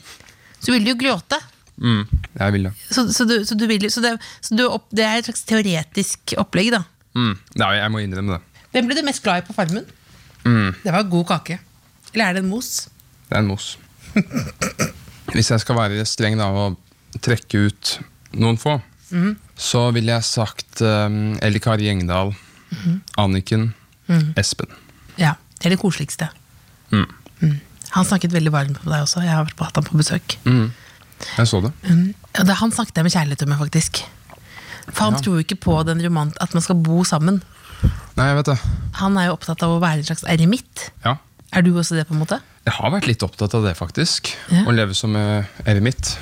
Speaker 3: så vil du jo gråte.
Speaker 4: Mm, jeg vil det.
Speaker 3: Så, så, du, så, du vil, jo- så, det, så du opp, det er et slags teoretisk opplegg, da.
Speaker 4: Mm. Nei, jeg må innrømme det.
Speaker 3: Hvem ble du mest glad i på Farmen? Det var god kake. Eller er det en mos?
Speaker 4: Det er en mos. Hvis jeg skal være streng da, og trekke ut noen få,
Speaker 3: Mhm.
Speaker 4: så ville jeg sagt um, Ellie Kari Gjengdal,
Speaker 3: Mhm.
Speaker 4: Anniken, Espen.
Speaker 3: Ja, det er det koseligste. Mm. Han snakket veldig varmt på deg også. Jeg har vært på, hatt ham på besøk.
Speaker 4: Mm. Jeg så det.
Speaker 3: Mm. Og det, han snakket jeg med kjærlighet om, faktisk. For han
Speaker 4: Ja.
Speaker 3: tror jo ikke på den romant at man skal bo sammen.
Speaker 4: Nei, jeg vet det.
Speaker 3: Han er jo opptatt av å være en slags eremitt.
Speaker 4: Ja.
Speaker 3: Er du også det, på en måte?
Speaker 4: Jeg har vært litt opptatt av det, faktisk.
Speaker 3: Ja. Mhm.
Speaker 4: Å leve som eh, eremitt.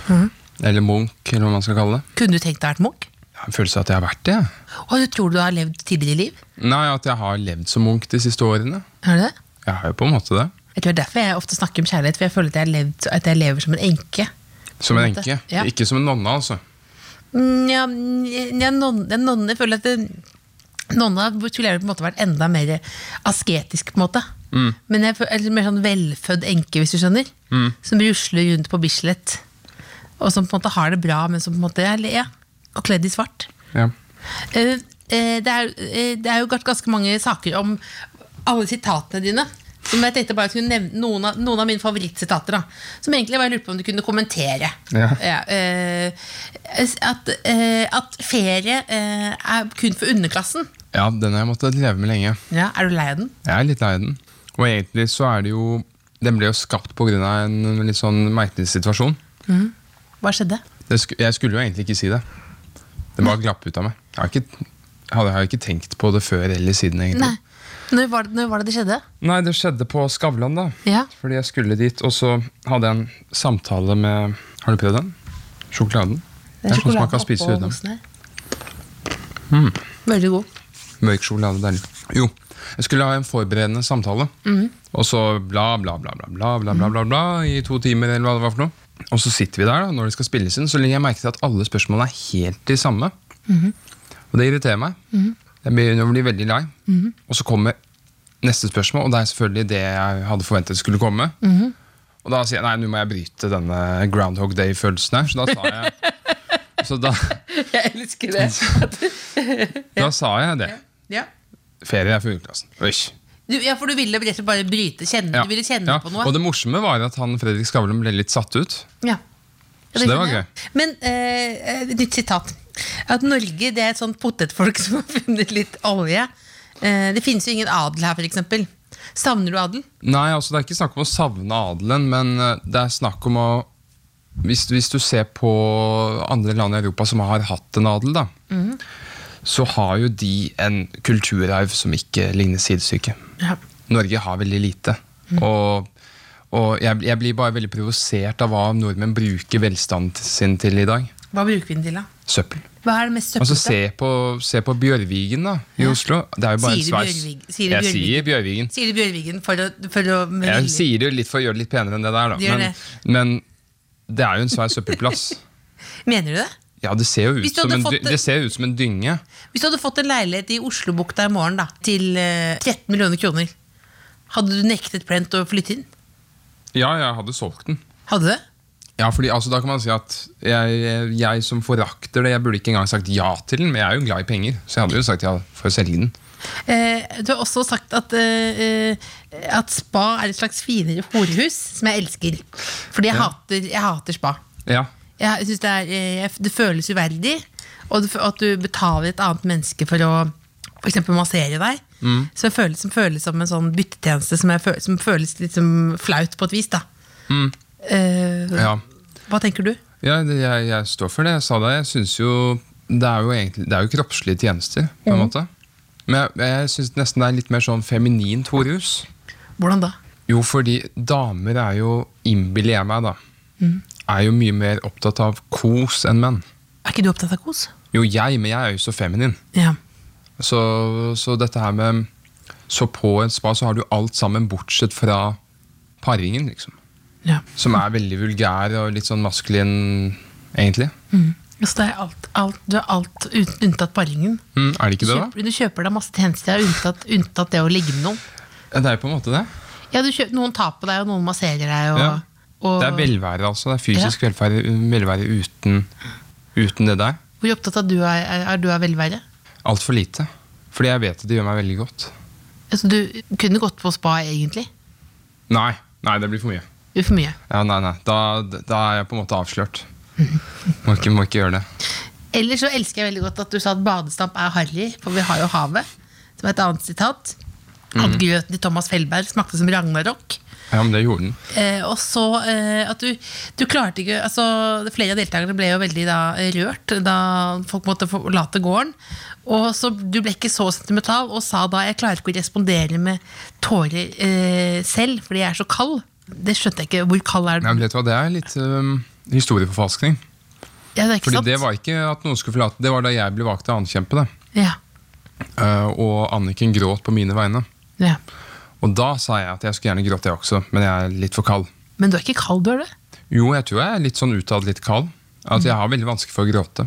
Speaker 4: Eller munk, eller hva man skal kalle det.
Speaker 3: Kunne du tenkt deg å være munk?
Speaker 4: Jeg har en følelse av at jeg har vært det. jeg.
Speaker 3: Og du tror du har levd tidligere liv?
Speaker 4: Nei, at jeg har levd som munk de siste årene.
Speaker 3: Har du det?
Speaker 4: Jeg har jo på en måte det.
Speaker 3: Jeg tror det er derfor jeg ofte snakker om kjærlighet, for jeg føler at jeg, har levd, at jeg lever som en enke.
Speaker 4: Som en
Speaker 3: På en måte,
Speaker 4: enke.
Speaker 3: ja.
Speaker 4: Ikke som en nonne, altså.
Speaker 3: Nja, nja mm, nonne, nonne Jeg føler at det, nonna skulle jeg på en måte vært enda mer asketisk, på en måte. Men jeg føler, eller mer sånn velfødd enke, hvis du skjønner. Som rusler rundt på Bislett. Og som på en måte har det bra, men som på en måte er ja, og kledd i svart.
Speaker 4: Ja.
Speaker 3: Eh, eh, det, er, eh, det er jo gans- ganske mange saker om alle sitatene dine. Som jeg tenkte bare jeg skulle nevne Noen av, noen av mine favorittsitater. da Som egentlig bare lurte på om du kunne kommentere.
Speaker 4: Ja.
Speaker 3: eh, at, eh, at ferie eh, er kun for underklassen.
Speaker 4: ja, den har jeg måttet leve med lenge.
Speaker 3: Ja, Er du lei av den?
Speaker 4: Jeg er litt lei den. Og egentlig så er det jo Den ble jo skapt pga. en litt sånn merkelig situasjon.
Speaker 3: Hva skjedde?
Speaker 4: Det sk jeg skulle jo egentlig ikke si det. Det bare glapp ut av meg. Jeg har ikke, hadde, jeg har ikke tenkt på det før eller siden, egentlig.
Speaker 3: Nei. Når var det når var det, det skjedde?
Speaker 4: Nei, det skjedde på Skavlan, da.
Speaker 3: Ja.
Speaker 4: Fordi jeg skulle dit, og så hadde jeg en samtale med Har du prøvd den? Sjokoladen? Det er sånn som man kan spise uten. Hmm.
Speaker 3: Veldig god.
Speaker 4: Mørk sjokolade, deilig. Jo, jeg skulle ha en forberedende samtale. Og så bla, bla, bla, bla, bla, bla, bla, bla, bla i to timer, eller hva det var for noe. Og så sitter vi der, da, når det skal spilles inn, så legger jeg merke til at alle spørsmålene er helt de samme. Og det irriterer meg. Jeg begynner å bli veldig lei. Og så kommer neste spørsmål, og det er selvfølgelig det jeg hadde forventet skulle komme. Og da sier jeg nei, nå må jeg bryte denne Groundhog Day-følelsen her, så da sa jeg Så da,
Speaker 3: Jeg elsker det.
Speaker 4: da sa jeg det.
Speaker 3: Ja.
Speaker 4: Ferie er for underklassen. Øy.
Speaker 3: Du, ja, for du ville rett og slett bare bryte kjenne,
Speaker 4: Ja.
Speaker 3: Du ville kjenne
Speaker 4: Ja,
Speaker 3: på noe.
Speaker 4: Og det morsomme var at han Fredrik Skavlan ble litt satt ut.
Speaker 3: Ja.
Speaker 4: Så det var
Speaker 3: skjønner jeg. Men eh, eh, nytt sitat. At Norge det er et sånt potetfolk som har funnet litt olje. Eh, det finnes jo ingen adel her, f.eks. Savner du adel?
Speaker 4: Nei, altså Det er ikke snakk om å savne adelen, men eh, det er snakk om å Hvis, hvis du ser på andre land i Europa som har hatt en adel, da,
Speaker 3: Mhm.
Speaker 4: så har jo de en kulturarv som ikke ligner sidestykke.
Speaker 3: Ja.
Speaker 4: Norge har veldig lite.
Speaker 3: Mhm.
Speaker 4: Og, og jeg, jeg blir bare veldig provosert av hva nordmenn bruker velstanden sin til i dag.
Speaker 3: Hva bruker vi den til, da?
Speaker 4: Søppel.
Speaker 3: Hva er det mest søppelete?
Speaker 4: Altså se på, se på Bjørvigen da, i Oslo. Det er jo bare
Speaker 3: Sier du
Speaker 4: en sveis.
Speaker 3: Bjørvig- sier du
Speaker 4: jeg
Speaker 3: Bjørvigen?
Speaker 4: sier Bjørvigen.
Speaker 3: Sier du Bjørvigen for å, for å med
Speaker 4: Jeg
Speaker 3: vilje.
Speaker 4: sier det jo litt for å gjøre det litt penere enn det der,
Speaker 3: Du gjør
Speaker 4: da. Men, men det er jo en svær søppelplass.
Speaker 3: Mener du det?
Speaker 4: Ja, det ser jo ut,
Speaker 3: Hvis du
Speaker 4: som
Speaker 3: hadde
Speaker 4: en,
Speaker 3: fått
Speaker 4: dy-
Speaker 3: det-
Speaker 4: det ser jo ut som en dynge.
Speaker 3: Hvis du hadde fått en leilighet i Oslobukta i morgen da, til eh, 13 millioner kroner, hadde du nektet Brent å flytte inn?
Speaker 4: Ja, jeg hadde solgt den.
Speaker 3: Hadde du det?
Speaker 4: Ja, fordi altså, Da kan man si at jeg, jeg som forakter det, jeg burde ikke engang sagt ja til den, men jeg er jo glad i penger, så jeg hadde jo sagt ja for å selge den.
Speaker 3: Eh, du har også sagt at, eh, eh, at spa er et slags finere horehus, som jeg elsker. Fordi jeg,
Speaker 4: Ja.
Speaker 3: hater, jeg hater spa.
Speaker 4: Ja,
Speaker 3: Jeg synes det, er, eh, jeg- det føles uverdig, og det, fø- at du betaler et annet menneske for å for eksempel massere deg.
Speaker 4: Mm.
Speaker 3: Som, føles, som føles som en sånn byttetjeneste som, jeg føl, som føles litt som flaut på et vis. Da. Eh,
Speaker 4: Mm. ja.
Speaker 3: Hva tenker du?
Speaker 4: Ja, det, jeg, jeg står for det. Jeg sa det. Jeg synes jo Det er jo, egentlig, det er jo kroppslige tjenester, på en måte. Men jeg, jeg syns nesten det er litt mer sånn feminint horus.
Speaker 3: Hvordan da?
Speaker 4: Jo, fordi damer er jo, innbiller jeg meg, da, er jo mye mer opptatt av kos enn menn.
Speaker 3: Er ikke du opptatt av kos?
Speaker 4: Jo, jeg, men jeg er jo så feminin.
Speaker 3: Ja.
Speaker 4: Så, så dette her med Så på en spa så har du alt sammen bortsett fra paringen, liksom.
Speaker 3: ja.
Speaker 4: Som er veldig vulgær og litt sånn maskulin, egentlig.
Speaker 3: Mhm. Så Mm. Altså, det er alt, alt, du er alt ut- unntatt paringen?
Speaker 4: Mm, er det
Speaker 3: Du
Speaker 4: ikke det, da?
Speaker 3: kjøper, du kjøper deg masse tjenester, unntatt, unntatt det å ligge med noen.
Speaker 4: Ja, Det er jo på en måte det.
Speaker 3: Ja, du kjøper, Noen tar på deg, og noen masserer deg. Og,
Speaker 4: Ja.
Speaker 3: og,
Speaker 4: Det er velvære, altså. Det er fysisk velvære, velvære uten, uten det der.
Speaker 3: Hvor opptatt av du er, er, er du av velvære?
Speaker 4: Altfor lite. Fordi jeg vet at det gjør meg veldig godt.
Speaker 3: Altså, du kunne gått på spa, egentlig.
Speaker 4: Nei, nei, det blir for mye.
Speaker 3: Jo, for mye.
Speaker 4: Ja, nei, nei. Da, da er jeg på en måte avslørt. Må ikke, må ikke gjøre det.
Speaker 3: Eller så elsker jeg veldig godt at du sa at badestamp er harry, for vi har jo havet. Som er et annet sitat.
Speaker 4: Mm.
Speaker 3: At grøten til Thomas Felberg smakte som ragnarok.
Speaker 4: Ja, men det gjorde den.
Speaker 3: Eh, og så eh, at du, du klarte ikke altså, Flere av deltakerne ble jo veldig da, eh, rørt da folk måtte forlate gården. Og så Du ble ikke så sentimental og sa da 'jeg klarer ikke å respondere med tårer eh, selv fordi jeg er så kald'. Det skjønte jeg ikke. Hvor kald er du?
Speaker 4: Nei, men vet du hva, Det er litt øhm, historieforfalskning.
Speaker 3: Ja, det er ikke
Speaker 4: Fordi
Speaker 3: sant?
Speaker 4: Det var ikke at noen skulle forlate, det var da jeg ble valgt til å ankjempe det.
Speaker 3: Ja,
Speaker 4: Eh, og Anniken gråt på mine vegne.
Speaker 3: ja.
Speaker 4: Og da sa jeg at jeg skulle gjerne gråte, jeg også, men jeg er litt for kald.
Speaker 3: Men du er ikke kald, du er det?
Speaker 4: Jo, jeg tror jeg er litt sånn utad litt kald. At jeg har veldig vanskelig for å gråte.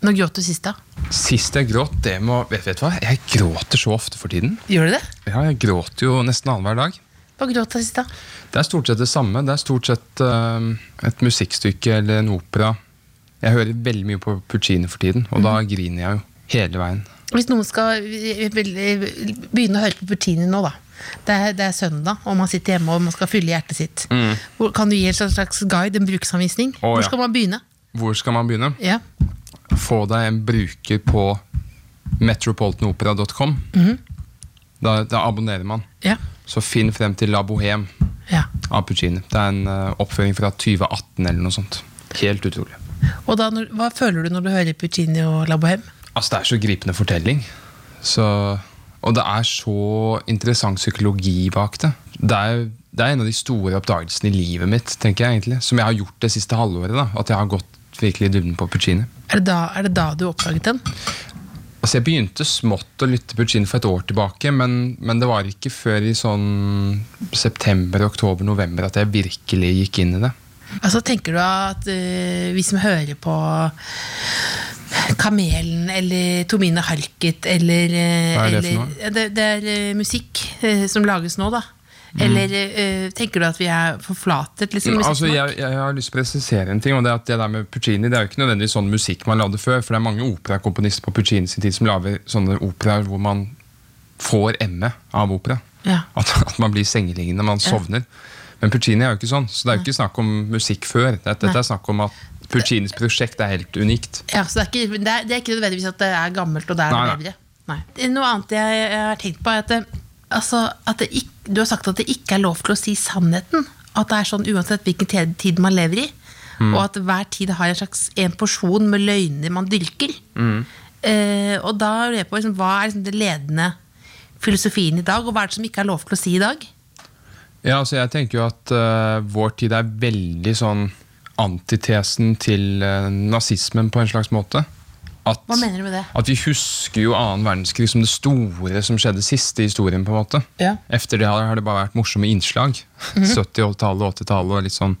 Speaker 3: Når gråt du sist, da?
Speaker 4: Sist jeg gråt, det må Vet vet du hva? Jeg gråter så ofte for tiden.
Speaker 3: Gjør du det?
Speaker 4: Ja, jeg gråter jo nesten annenhver dag.
Speaker 3: Hva gråt du sist, da?
Speaker 4: Det er stort sett det samme. Det er stort sett eh, et musikkstykke eller en opera. Jeg hører veldig mye på Puccini for tiden, og da griner jeg jo hele veien.
Speaker 3: Hvis noen skal eh, begynne å høre på Bertini nå, da. Det er, det er søndag, og man sitter hjemme og man skal fylle hjertet sitt. Hvor, kan du gi en slags- slags guide, en bruksanvisning?
Speaker 4: Mm. Å,
Speaker 3: Hvor
Speaker 4: ja.
Speaker 3: skal man begynne?
Speaker 4: Hvor skal man begynne?
Speaker 3: Ja.
Speaker 4: Få deg en bruker på metropolitanopera.com. da, da abonnerer man.
Speaker 3: Ja.
Speaker 4: Så finn frem til La Bohème
Speaker 3: ja.
Speaker 4: av Puccini. Det er en eh, oppføring fra 2018 eller noe sånt. Helt utrolig.
Speaker 3: Og da, når, hva føler du når du hører Puccini og La Bohème?
Speaker 4: Altså, det er så gripende fortelling. Så, og det er så interessant psykologi bak det. Det er, det er en av de store oppdagelsene i livet mitt, tenker jeg egentlig. Som jeg har gjort det siste halvåret. da, At jeg har gått virkelig i dybden på Puccini.
Speaker 3: Er det da, er det da du oppdaget den?
Speaker 4: Altså, jeg begynte smått å lytte Puccini for et år tilbake, men, men det var ikke før i sånn september, oktober, november at jeg virkelig gikk inn i det.
Speaker 3: Altså, tenker du at eh, vi som hører på Kamelen eller Tomine Harket eller eh,
Speaker 4: Hva er det for
Speaker 3: eller-
Speaker 4: noe?
Speaker 3: Ja, Det, det er eh, musikk eh, som lages nå, da.
Speaker 4: Mm.
Speaker 3: Eller eh, tenker du at vi er forflatet? Liksom,
Speaker 4: Altså,
Speaker 3: musikksmak?
Speaker 4: jeg, jeg har lyst til å presisere en ting. og Det er at det der med Puccini det er jo ikke nødvendigvis sånn musikk man lagde før. For det er mange operakomponister på Puccini sin tid som lager sånne operaer hvor man får ME av opera.
Speaker 3: Ja.
Speaker 4: At, at man blir sengeliggende, man sovner. Men Puccini er jo ikke sånn. Så det er jo ikke snakk om musikk før. Det, dette er snakk om at Puccinis prosjekt er helt unikt.
Speaker 3: Ja, så det er, ikke, det, er, det er ikke nødvendigvis at det er gammelt og det er
Speaker 4: Nei,
Speaker 3: nei,
Speaker 4: nei.
Speaker 3: bedre. Nei. Det er Noe annet jeg, jeg har tenkt på, er at, det, altså, at det ikk- du har sagt at det ikke er lov til å si sannheten. At det er sånn uansett hvilken te- tid man lever i.
Speaker 4: Mm.
Speaker 3: Og at hver tid har en slags en porsjon med løgner man dyrker.
Speaker 4: Mm.
Speaker 3: Eh, og da lurer jeg på liksom, hva er liksom, den ledende filosofien i dag, og hva er det som ikke er lov til å si i dag?
Speaker 4: Ja, altså jeg tenker jo at eh, vår tid er veldig sånn antitesen til eh, nazismen på en slags måte. At,
Speaker 3: Hva mener du med det?
Speaker 4: At vi husker jo annen verdenskrig som det store som skjedde sist i historien. på en måte.
Speaker 3: Ja.
Speaker 4: Efter det har har det bare vært morsomme innslag. 70-tallet og 80-tallet. og litt sånn.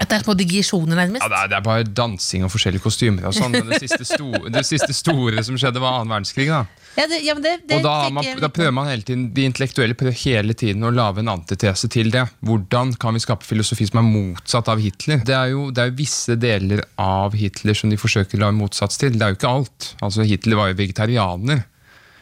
Speaker 3: At det er små digresjoner, nærmest?
Speaker 4: Ja, det, er, det er bare dansing og forskjellige kostymer. og sånn, Men det siste, sto, det siste store som skjedde, var annen verdenskrig. da.
Speaker 3: Ja, det, ja, men det, det
Speaker 4: Og da, har
Speaker 3: tenker
Speaker 4: man,
Speaker 3: jeg-
Speaker 4: da prøver man hele tiden, De intellektuelle prøver hele tiden å lage en antitese til det. Hvordan kan vi skape filosofi som er motsatt av Hitler? Det er jo, det er jo visse deler av Hitler som de forsøker å lage motsats til. Det er jo ikke alt. Altså, Hitler var jo vegetarianer.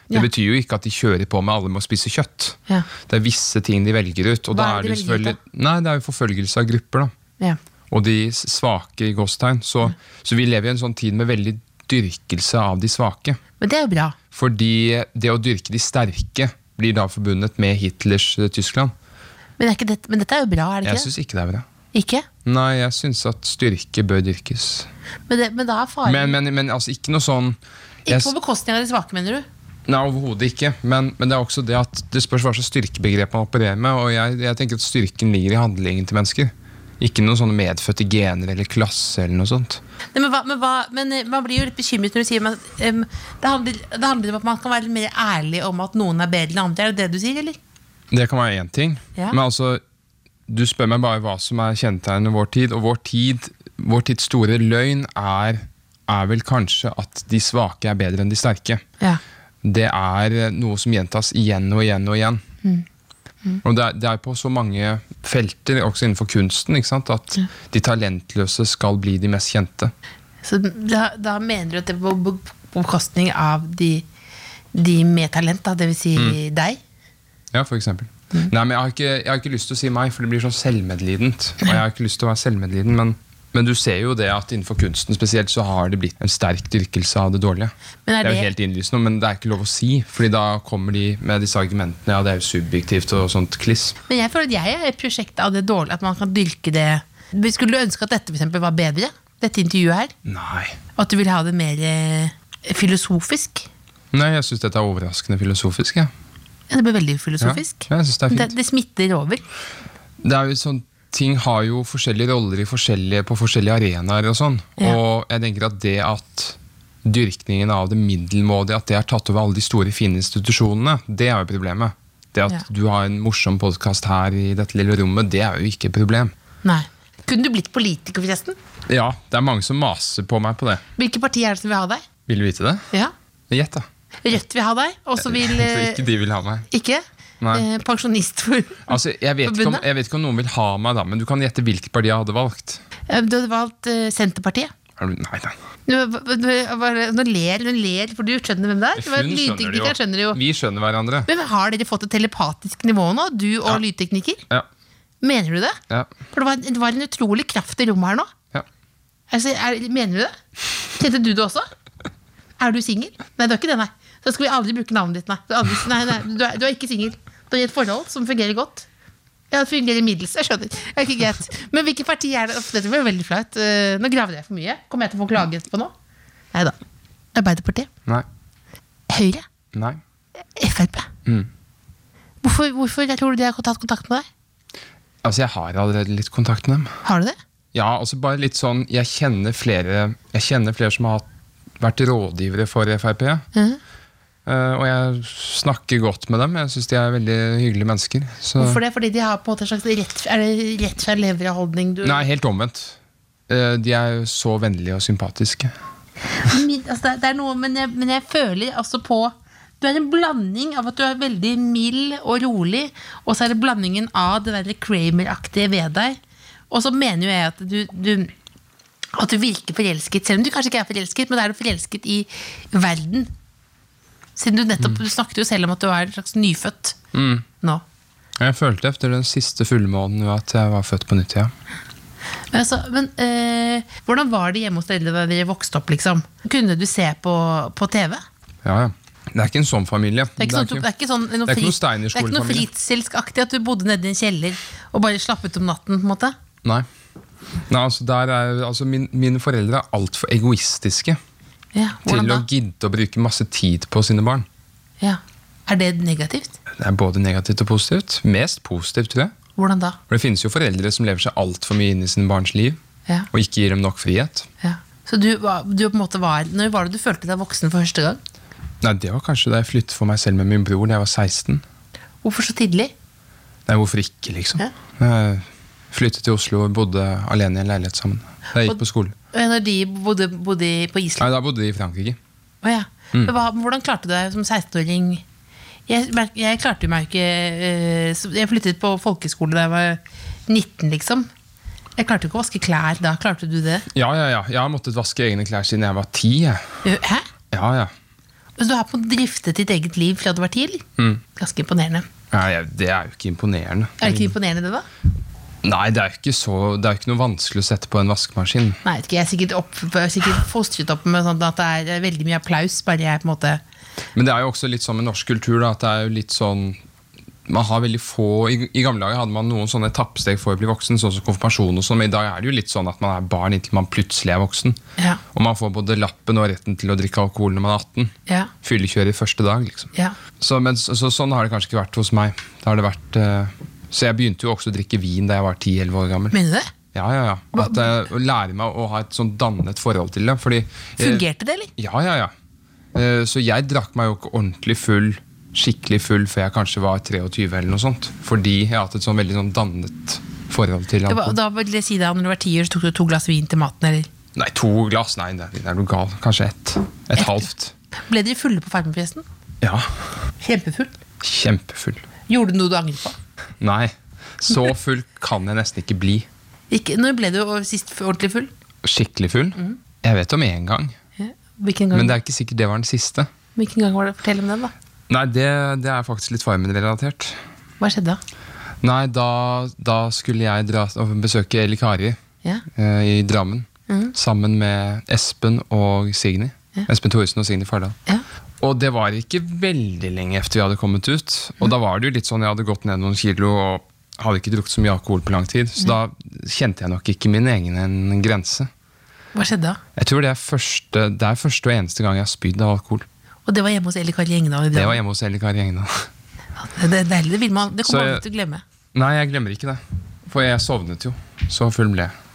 Speaker 4: Det
Speaker 3: Ja.
Speaker 4: betyr jo ikke at de kjører på med alle med å spise kjøtt.
Speaker 3: Ja.
Speaker 4: Det er visse ting de velger ut. Og
Speaker 3: Hva
Speaker 4: da
Speaker 3: er
Speaker 4: er
Speaker 3: det
Speaker 4: det,
Speaker 3: de
Speaker 4: jo
Speaker 3: velger ut,
Speaker 4: selvfølgelig Nei, det er jo forfølgelse av grupper. da
Speaker 3: ja.
Speaker 4: og de s- svake i gåstegn. Så, så vi lever i en sånn tid med veldig dyrkelse av de svake.
Speaker 3: Men det er jo bra.
Speaker 4: Fordi det å dyrke de sterke blir da forbundet med Hitlers eh, Tyskland.
Speaker 3: Men, det er ikke dette- men dette er jo bra, er det
Speaker 4: Jeg
Speaker 3: ikke? det?
Speaker 4: syns ikke det er bra.
Speaker 3: Ikke?
Speaker 4: Nei, jeg syns at styrke bør dyrkes.
Speaker 3: Men, det, men da er faren
Speaker 4: Men, men, men altså, ikke noe sånn jeg,
Speaker 3: Ikke på bekostning av de svake, mener du?
Speaker 4: s- Nei, overhodet ikke. Men, men det er også det at det spørs hva slags styrkebegrep man opererer med. Og jeg, jeg tenker at styrken ligger i handlingen til mennesker. Ikke noen sånne medfødte gener eller klasse eller noe sånt.
Speaker 3: Nei, men, hva, men, hva, men eh, man blir jo litt bekymret når du sier at em, det, handler, det handler om at man kan være litt mer ærlig om at noen er bedre enn andre. Er det det du sier, eller?
Speaker 4: Det kan være én ting.
Speaker 3: Ja.
Speaker 4: Men altså, du spør meg bare hva som er kjennetegnet vår tid. Og vår, tid, vår tids store løgn er, er vel kanskje at de svake er bedre enn de sterke.
Speaker 3: Ja.
Speaker 4: Det er noe som gjentas igjen og igjen og igjen.
Speaker 3: Mm.
Speaker 4: Og det er, det er på så mange felter, også innenfor kunsten, ikke sant? at de talentløse skal bli de mest kjente.
Speaker 3: Så da, da mener du at det er på be- på bekostning av de, de med talent, da, dvs. Si
Speaker 4: Mm.
Speaker 3: deg?
Speaker 4: Ja, for eksempel. Nei, men jeg har, ikke, jeg har ikke lyst til å si meg, for det blir sånn selvmedlident. Og jeg har ikke lyst til å være selvmedliden, men Men du ser jo det at innenfor kunsten spesielt så har det blitt en sterk dyrkelse av det dårlige.
Speaker 3: Men er
Speaker 4: det er
Speaker 3: det-
Speaker 4: jo helt innlysende, men det er ikke lov å si. Fordi da kommer de med disse argumentene ja, det er jo subjektivt og sånt kliss.
Speaker 3: Men jeg føler at jeg er et prosjekt av det dårlige, at man kan dyrke det. Vi skulle ønske at dette for eksempel, var bedre, dette intervjuet her.
Speaker 4: Nei.
Speaker 3: Og at du ville ha det mer eh, filosofisk.
Speaker 4: Nei, jeg syns dette er overraskende filosofisk. Ja.
Speaker 3: Ja, det ble veldig filosofisk.
Speaker 4: Ja, jeg synes det er fint.
Speaker 3: det, smitter over.
Speaker 4: det er jo sånn Ting har jo forskjellige roller i forskjellige, på forskjellige arenaer. Og sånn.
Speaker 3: Ja.
Speaker 4: Og jeg tenker at det at dyrkningen av det middelmådige at det er tatt over alle de store, fine institusjonene, det er jo problemet. Det at
Speaker 3: Ja.
Speaker 4: du har en morsom podkast her i dette lille rommet, det er jo ikke et problem.
Speaker 3: Nei. Kunne du blitt politiker, forresten?
Speaker 4: Ja, det er mange som maser på meg på det.
Speaker 3: Hvilke partier er det som vil ha deg?
Speaker 4: Vil du vite det?
Speaker 3: Ja.
Speaker 4: Gjett, da.
Speaker 3: Rødt vil ha deg, og så vil
Speaker 4: Så
Speaker 3: eh,
Speaker 4: ikke de vil ha meg.
Speaker 3: Ikke?
Speaker 4: Nei.
Speaker 3: Eh, Pensjonistforbund.
Speaker 4: Altså, jeg vet, ikke om,
Speaker 3: Forbundet?
Speaker 4: jeg vet ikke om noen vil ha meg, da, men du kan gjette hvilket parti jeg hadde valgt.
Speaker 3: Eh, Du hadde valgt eh, Senterpartiet.
Speaker 4: Er du- Nei, nei.
Speaker 3: Du, du, du, bare- nå ler hun, ler, for du skjønner hvem det er.
Speaker 4: Hun skjønner det
Speaker 3: Lydteknikeren skjønner det jo.
Speaker 4: Vi skjønner hverandre.
Speaker 3: Men har dere fått et telepatisk nivå nå, du og
Speaker 4: Ja.
Speaker 3: lydtekniker?
Speaker 4: Ja,
Speaker 3: Mener du det?
Speaker 4: ja,
Speaker 3: For det var, det var en utrolig kraft i rommet her nå.
Speaker 4: ja.
Speaker 3: Altså, er, mener du det? Kjente du det også? Er du singel? Nei, du er ikke det, nei. Så skal vi aldri bruke navnet ditt, nei. Du er, aldri, nei, nei, du er, du er ikke singel. Du er i et forhold som fungerer godt. Ja, det fungerer middels. Jeg skjønner. Det er ikke greit. Men hvilket parti er det? Uff, Dette ble veldig flaut. Eh, Nå graver jeg for mye. Kommer jeg til å få klage etterpå nå? Nei da. Arbeiderpartiet.
Speaker 4: Nei.
Speaker 3: Høyre.
Speaker 4: Nei.
Speaker 3: Frp.
Speaker 4: Mm.
Speaker 3: Hvorfor, hvorfor tror du de har tatt kontakt med deg?
Speaker 4: Altså, jeg har allerede litt kontakt med dem.
Speaker 3: Har du det?
Speaker 4: Ja, altså bare litt sånn, Jeg kjenner flere, jeg kjenner flere som har hatt- vært rådgivere for Frp.
Speaker 3: Mhm.
Speaker 4: Eh, og jeg snakker godt med dem. Jeg syns de er veldig hyggelige mennesker. Så.
Speaker 3: Hvorfor det? Fordi de har på en måte en slags rett, er det rett fra levra-holdning? du-
Speaker 4: Nei, helt omvendt. Eh, de er så vennlige og sympatiske.
Speaker 3: Mid, altså det, er- det er noe, men jeg, men jeg føler altså på Du er en blanding av at du er veldig mild og rolig, og så er det blandingen av det derre Kramer-aktige ved deg. Og så mener jo jeg at du, du at du virker forelsket, selv om du kanskje ikke er forelsket, men da er du forelsket i verden. Siden du nettopp Du snakket jo selv om at du er en slags nyfødt nå.
Speaker 4: Jeg følte etter den siste fullmånen jo at jeg var født på nytt. ja.
Speaker 3: Men Altså, men eh, hvordan var det hjemme hos dere da dere vokste opp, liksom? Kunne du se på, på TV?
Speaker 4: Ja, ja. Det er ikke en sånn familie.
Speaker 3: Det er ikke, sånn, at du- det er ikke sånn noe
Speaker 4: det
Speaker 3: fri- Det er ikke
Speaker 4: er ikke noe
Speaker 3: noe
Speaker 4: Steinerskolen-familie.
Speaker 3: fritselskaktig at du bodde nede i en kjeller og bare slappet om natten. på en måte
Speaker 4: Nei. Nei, altså, der er, altså min, Mine foreldre er altfor egoistiske
Speaker 3: ja,
Speaker 4: til
Speaker 3: hvordan da?
Speaker 4: å gidde å bruke masse tid på sine barn.
Speaker 3: Ja. Er det negativt?
Speaker 4: Det er både negativt og positivt. Mest positivt, tror jeg.
Speaker 3: Hvordan da?
Speaker 4: For Det finnes jo foreldre som lever seg altfor mye inn i sine barns liv
Speaker 3: Ja,
Speaker 4: og ikke gir dem nok frihet.
Speaker 3: ja. Så du, var- du på en måte var Når var det du følte deg voksen for første gang?
Speaker 4: Nei, Det var kanskje da jeg flyttet for meg selv med min bror da jeg var 16.
Speaker 3: Hvorfor så tidlig?
Speaker 4: Nei, hvorfor ikke, liksom?
Speaker 3: Ja.
Speaker 4: Jeg flyttet til Oslo og bodde alene i en leilighet sammen. Da jeg
Speaker 3: Og-
Speaker 4: gikk på skole.
Speaker 3: Eh, Når de bodde, bodde i- på Island?
Speaker 4: Nei, Da bodde de i Frankrike.
Speaker 3: Å ja.
Speaker 4: Mm.
Speaker 3: Men hva, hvordan klarte du deg som 16-åring? Jeg, mer- jeg klarte meg jo ikke eh, så- Jeg flyttet på folkeskole da jeg var 19, liksom. Jeg klarte jo ikke å vaske klær da. Klarte du det?
Speaker 4: Ja, ja, ja. Jeg har måttet vaske egne klær siden jeg var ti. jeg.
Speaker 3: Eh, Hæ?
Speaker 4: Ja, ja.
Speaker 3: Så du har på en måte driftet ditt eget liv fra du var ti? eller?
Speaker 4: Mm.
Speaker 3: Ganske imponerende.
Speaker 4: Nei, jeg- det er jo ikke imponerende.
Speaker 3: Er det ikke imponerende, det, da?
Speaker 4: Nei, det er jo ikke, så, det er jo ikke noe vanskelig å sette på en vaskemaskin.
Speaker 3: Nei, jeg vet ikke, jeg er sikkert, opp, jeg er sikkert fostret opp med sånn at det er veldig mye applaus. Bare jeg på en måte
Speaker 4: Men det er jo også litt sånn med norsk kultur da, at det er jo litt sånn man har veldig få, I, i gamle dager hadde man noen sånne tappsteg for å bli voksen, sånn som konfirmasjon og sånn, men i dag er det jo litt sånn at man er barn inntil man plutselig er voksen.
Speaker 3: Ja.
Speaker 4: Og man får både lappen og retten til å drikke alkohol når man er 18.
Speaker 3: Ja.
Speaker 4: Fyllekjører første dag, liksom.
Speaker 3: Ja.
Speaker 4: Så, men, så, så sånn har det kanskje ikke vært hos meg. Da har det vært, eh, så jeg begynte jo også å drikke vin da jeg var 10-11 år gammel.
Speaker 3: Mener du det?
Speaker 4: Ja, ja, ja. At jeg lærer meg å ha et sånn dannet forhold til det. Fordi, eh,
Speaker 3: Fungerte det, eller?
Speaker 4: Ja, ja, ja. Eh, Så jeg drakk meg jo ikke ordentlig full, skikkelig full, før jeg kanskje var 23 eller noe sånt. Fordi jeg har hatt et sånn veldig sånn dannet forhold til
Speaker 3: Det var,
Speaker 4: alkohol.
Speaker 3: da vil jeg si deg, når du var ti år, så tok du to glass vin til maten, eller?
Speaker 4: Nei, to glass? Nei, det det er du gal. Kanskje ett. Et halvt.
Speaker 3: Ble dere fulle på Farmen, forresten?
Speaker 4: Ja.
Speaker 3: Kjempefull.
Speaker 4: Kjempefull.
Speaker 3: Gjorde du noe du angret på?
Speaker 4: Nei, så full kan jeg nesten ikke bli.
Speaker 3: Ikke, når ble du sist ordentlig full?
Speaker 4: Skikkelig full? Jeg vet om én gang,
Speaker 3: Mhm. Ja. Hvilken, gang,
Speaker 4: men det er ikke sikkert det var den siste.
Speaker 3: hvilken gang var det? Fortell om den, da.
Speaker 4: Nei, det, det er faktisk litt Farmen-relatert.
Speaker 3: Hva skjedde da?
Speaker 4: Nei, da, da skulle jeg dra og besøke Eli Kari.
Speaker 3: Ja. Mhm.
Speaker 4: eh, i Drammen. Sammen med Espen og Signy.
Speaker 3: Ja.
Speaker 4: Espen Thoresen og Signy Fardal.
Speaker 3: Ja.
Speaker 4: Og det var ikke veldig lenge etter vi hadde kommet ut. Og da var det jo litt sånn, jeg hadde gått ned noen kilo og hadde ikke drukket så mye alkohol på lang tid. Så da kjente jeg nok ikke min egen grense.
Speaker 3: Hva skjedde da?
Speaker 4: Jeg tror det er første, det er første og eneste gang jeg har spydd av alkohol.
Speaker 3: Og det var hjemme hos Eli Kari Engdahl. i
Speaker 4: Det var
Speaker 3: Drammen.
Speaker 4: hjemme hos Eli Kari Engdahl.
Speaker 3: Det, det, er deilig, det, vil man, det kommer
Speaker 4: Så
Speaker 3: man
Speaker 4: jeg-
Speaker 3: aldri til å glemme.
Speaker 4: Nei, jeg glemmer ikke det. For jeg sovnet jo. Så full ble jeg.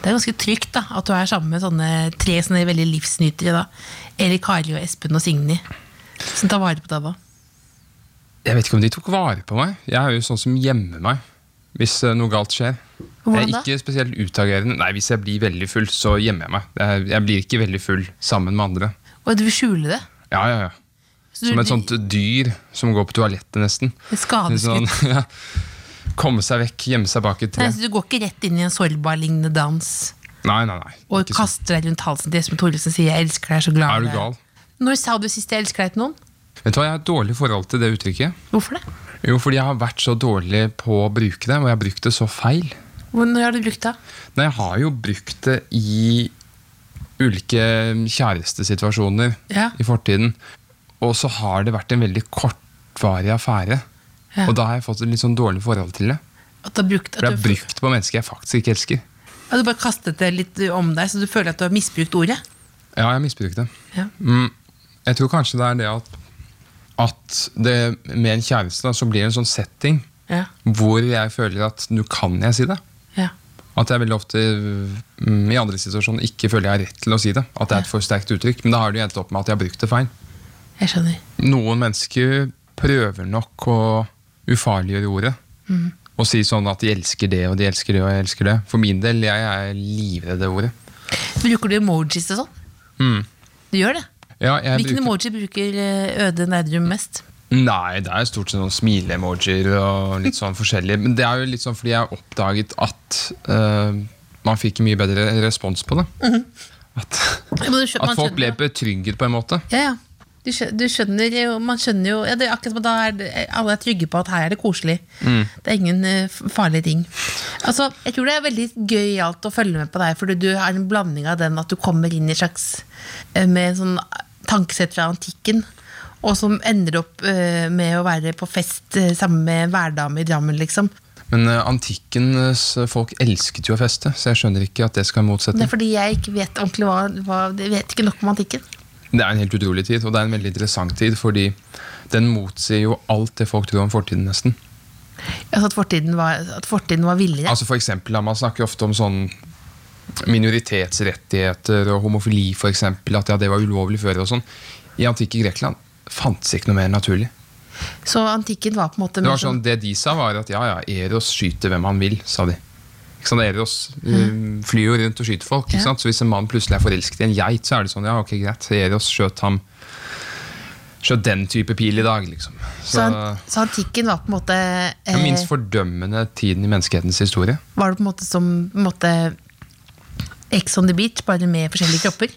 Speaker 3: Det er ganske trygt da, at du er sammen med sånne tre sånne veldig livsnytere. da. Eli Kari og Espen og Signy. Som tar vare på deg da.
Speaker 4: Jeg vet ikke om de tok vare på meg. Jeg er jo sånn som gjemmer meg hvis eh, noe galt skjer. Jeg
Speaker 3: Hvordan
Speaker 4: er
Speaker 3: da?
Speaker 4: ikke spesielt utagerende. Nei, Hvis jeg blir veldig full, så gjemmer jeg meg. Jeg, jeg blir ikke veldig full sammen med andre.
Speaker 3: Og du vil skjule det.
Speaker 4: Ja, ja, ja.
Speaker 3: Så du,
Speaker 4: Som et sånt dyr som går på toalettet, nesten.
Speaker 3: et skadeskutt.
Speaker 4: Sånn, ja. Komme seg vekk, gjemme seg bak et tre.
Speaker 3: Nei, så du går ikke rett inn i en sårbar-lignende dans
Speaker 4: Nei, nei, nei.
Speaker 3: og
Speaker 4: Ikke sånn.
Speaker 3: kaster deg rundt halsen til Espen Thoresen og sier 'jeg elsker deg, så glad
Speaker 4: Er
Speaker 3: i
Speaker 4: du
Speaker 3: deg».
Speaker 4: gal?
Speaker 3: Når sa du sist 'jeg elsker deg' til noen?
Speaker 4: Vet du hva, Jeg har et dårlig forhold til det uttrykket.
Speaker 3: Hvorfor det?
Speaker 4: Jo, fordi jeg har vært så dårlig på å bruke det, og jeg har brukt det så feil.
Speaker 3: Hvor- Når har du brukt det?
Speaker 4: Nei, jeg har jo brukt det i ulike kjærestesituasjoner
Speaker 3: Ja.
Speaker 4: i fortiden. Og så har det vært en veldig kortvarig affære.
Speaker 3: Ja.
Speaker 4: Og da har jeg fått et litt sånn dårlig forhold til det.
Speaker 3: At du har brukt, at
Speaker 4: For jeg
Speaker 3: du,
Speaker 4: har brukt på mennesker jeg faktisk ikke elsker.
Speaker 3: at du bare kastet det litt om deg, så du føler at du har misbrukt ordet?
Speaker 4: Ja, jeg har misbrukt det.
Speaker 3: Ja.
Speaker 4: Mm, jeg tror kanskje det er det at, at det, med en kjæreste da, så blir det en sånn setting
Speaker 3: Ja.
Speaker 4: hvor jeg føler at nå kan jeg si det.
Speaker 3: ja.
Speaker 4: At jeg veldig ofte mm, i andre situasjoner ikke føler jeg har rett til å si det. At det er et for sterkt uttrykk. Men da har det jo endt opp med at jeg har brukt det feil.
Speaker 3: Jeg skjønner.
Speaker 4: Noen mennesker prøver nok å ufarliggjøre ordet.
Speaker 3: Mhm.
Speaker 4: Og si sånn at de elsker det og de elsker det og jeg elsker det. For min del, jeg er livredd det ordet.
Speaker 3: Bruker du emojis og sånn?
Speaker 4: Mm.
Speaker 3: Du gjør det?
Speaker 4: Ja, jeg
Speaker 3: Hvilken
Speaker 4: bruker-
Speaker 3: emoji bruker eh, Øde Nerdrum mest?
Speaker 4: Nei, det er stort sett noen smile-emojier og litt sånn forskjellig. Men det er jo litt sånn fordi jeg har oppdaget at eh, man fikk mye bedre respons på det. At,
Speaker 3: Ja, men du skjø- Mhm. man
Speaker 4: at folk ble
Speaker 3: skjønner jo-
Speaker 4: betrygget på en måte.
Speaker 3: ja, ja. Du skjø- du skjønner jo, Man skjønner jo ja, det er akkurat som at da er det, Alle er trygge på at her er det koselig. Det er ingen eh, f- farlige ting. Altså, Jeg tror det er veldig gøyalt å følge med på deg, fordi du er en blanding av den at du kommer inn i slags eh, med en sånn tankesett fra antikken, og som ender opp eh, med å være på fest eh, sammen med en værdame i Drammen, liksom.
Speaker 4: Men eh, antikkens eh, folk elsket jo å feste, så jeg skjønner ikke at det skal i
Speaker 3: Det
Speaker 4: motsetning.
Speaker 3: er fordi jeg ikke vet ordentlig hva, hva Jeg vet ikke nok om antikken.
Speaker 4: Det er en helt utrolig tid, og det er en veldig interessant tid, fordi den motsier jo alt det folk tror om fortiden, nesten.
Speaker 3: Altså at fortiden var, at fortiden var villere?
Speaker 4: Altså for eksempel, da, Man snakker jo ofte om sånn minoritetsrettigheter og homofili, for eksempel, at ja, det var ulovlig før. og sånn. I antikke Grekland fantes ikke noe mer naturlig.
Speaker 3: så antikken var på en måte
Speaker 4: Det
Speaker 3: mer
Speaker 4: var sånn, det de sa, var at ja, ja, Eros skyter hvem han vil, sa de. Ikke sant? Eros eh, flyr jo rundt og skyter folk.
Speaker 3: Mm. Ja.
Speaker 4: ikke sant? Så hvis en mann plutselig er forelsket i en geit, så er det sånn ja, ok, greit. Eros skjøt ham skjøt den type pil i dag, liksom.
Speaker 3: så,
Speaker 4: Så,
Speaker 3: an- så antikken var på en måte
Speaker 4: den minst
Speaker 3: eh,
Speaker 4: fordømmende tiden i menneskehetens historie.
Speaker 3: Var det på en måte som på en måte, Ex on the beach, bare med forskjellige kropper?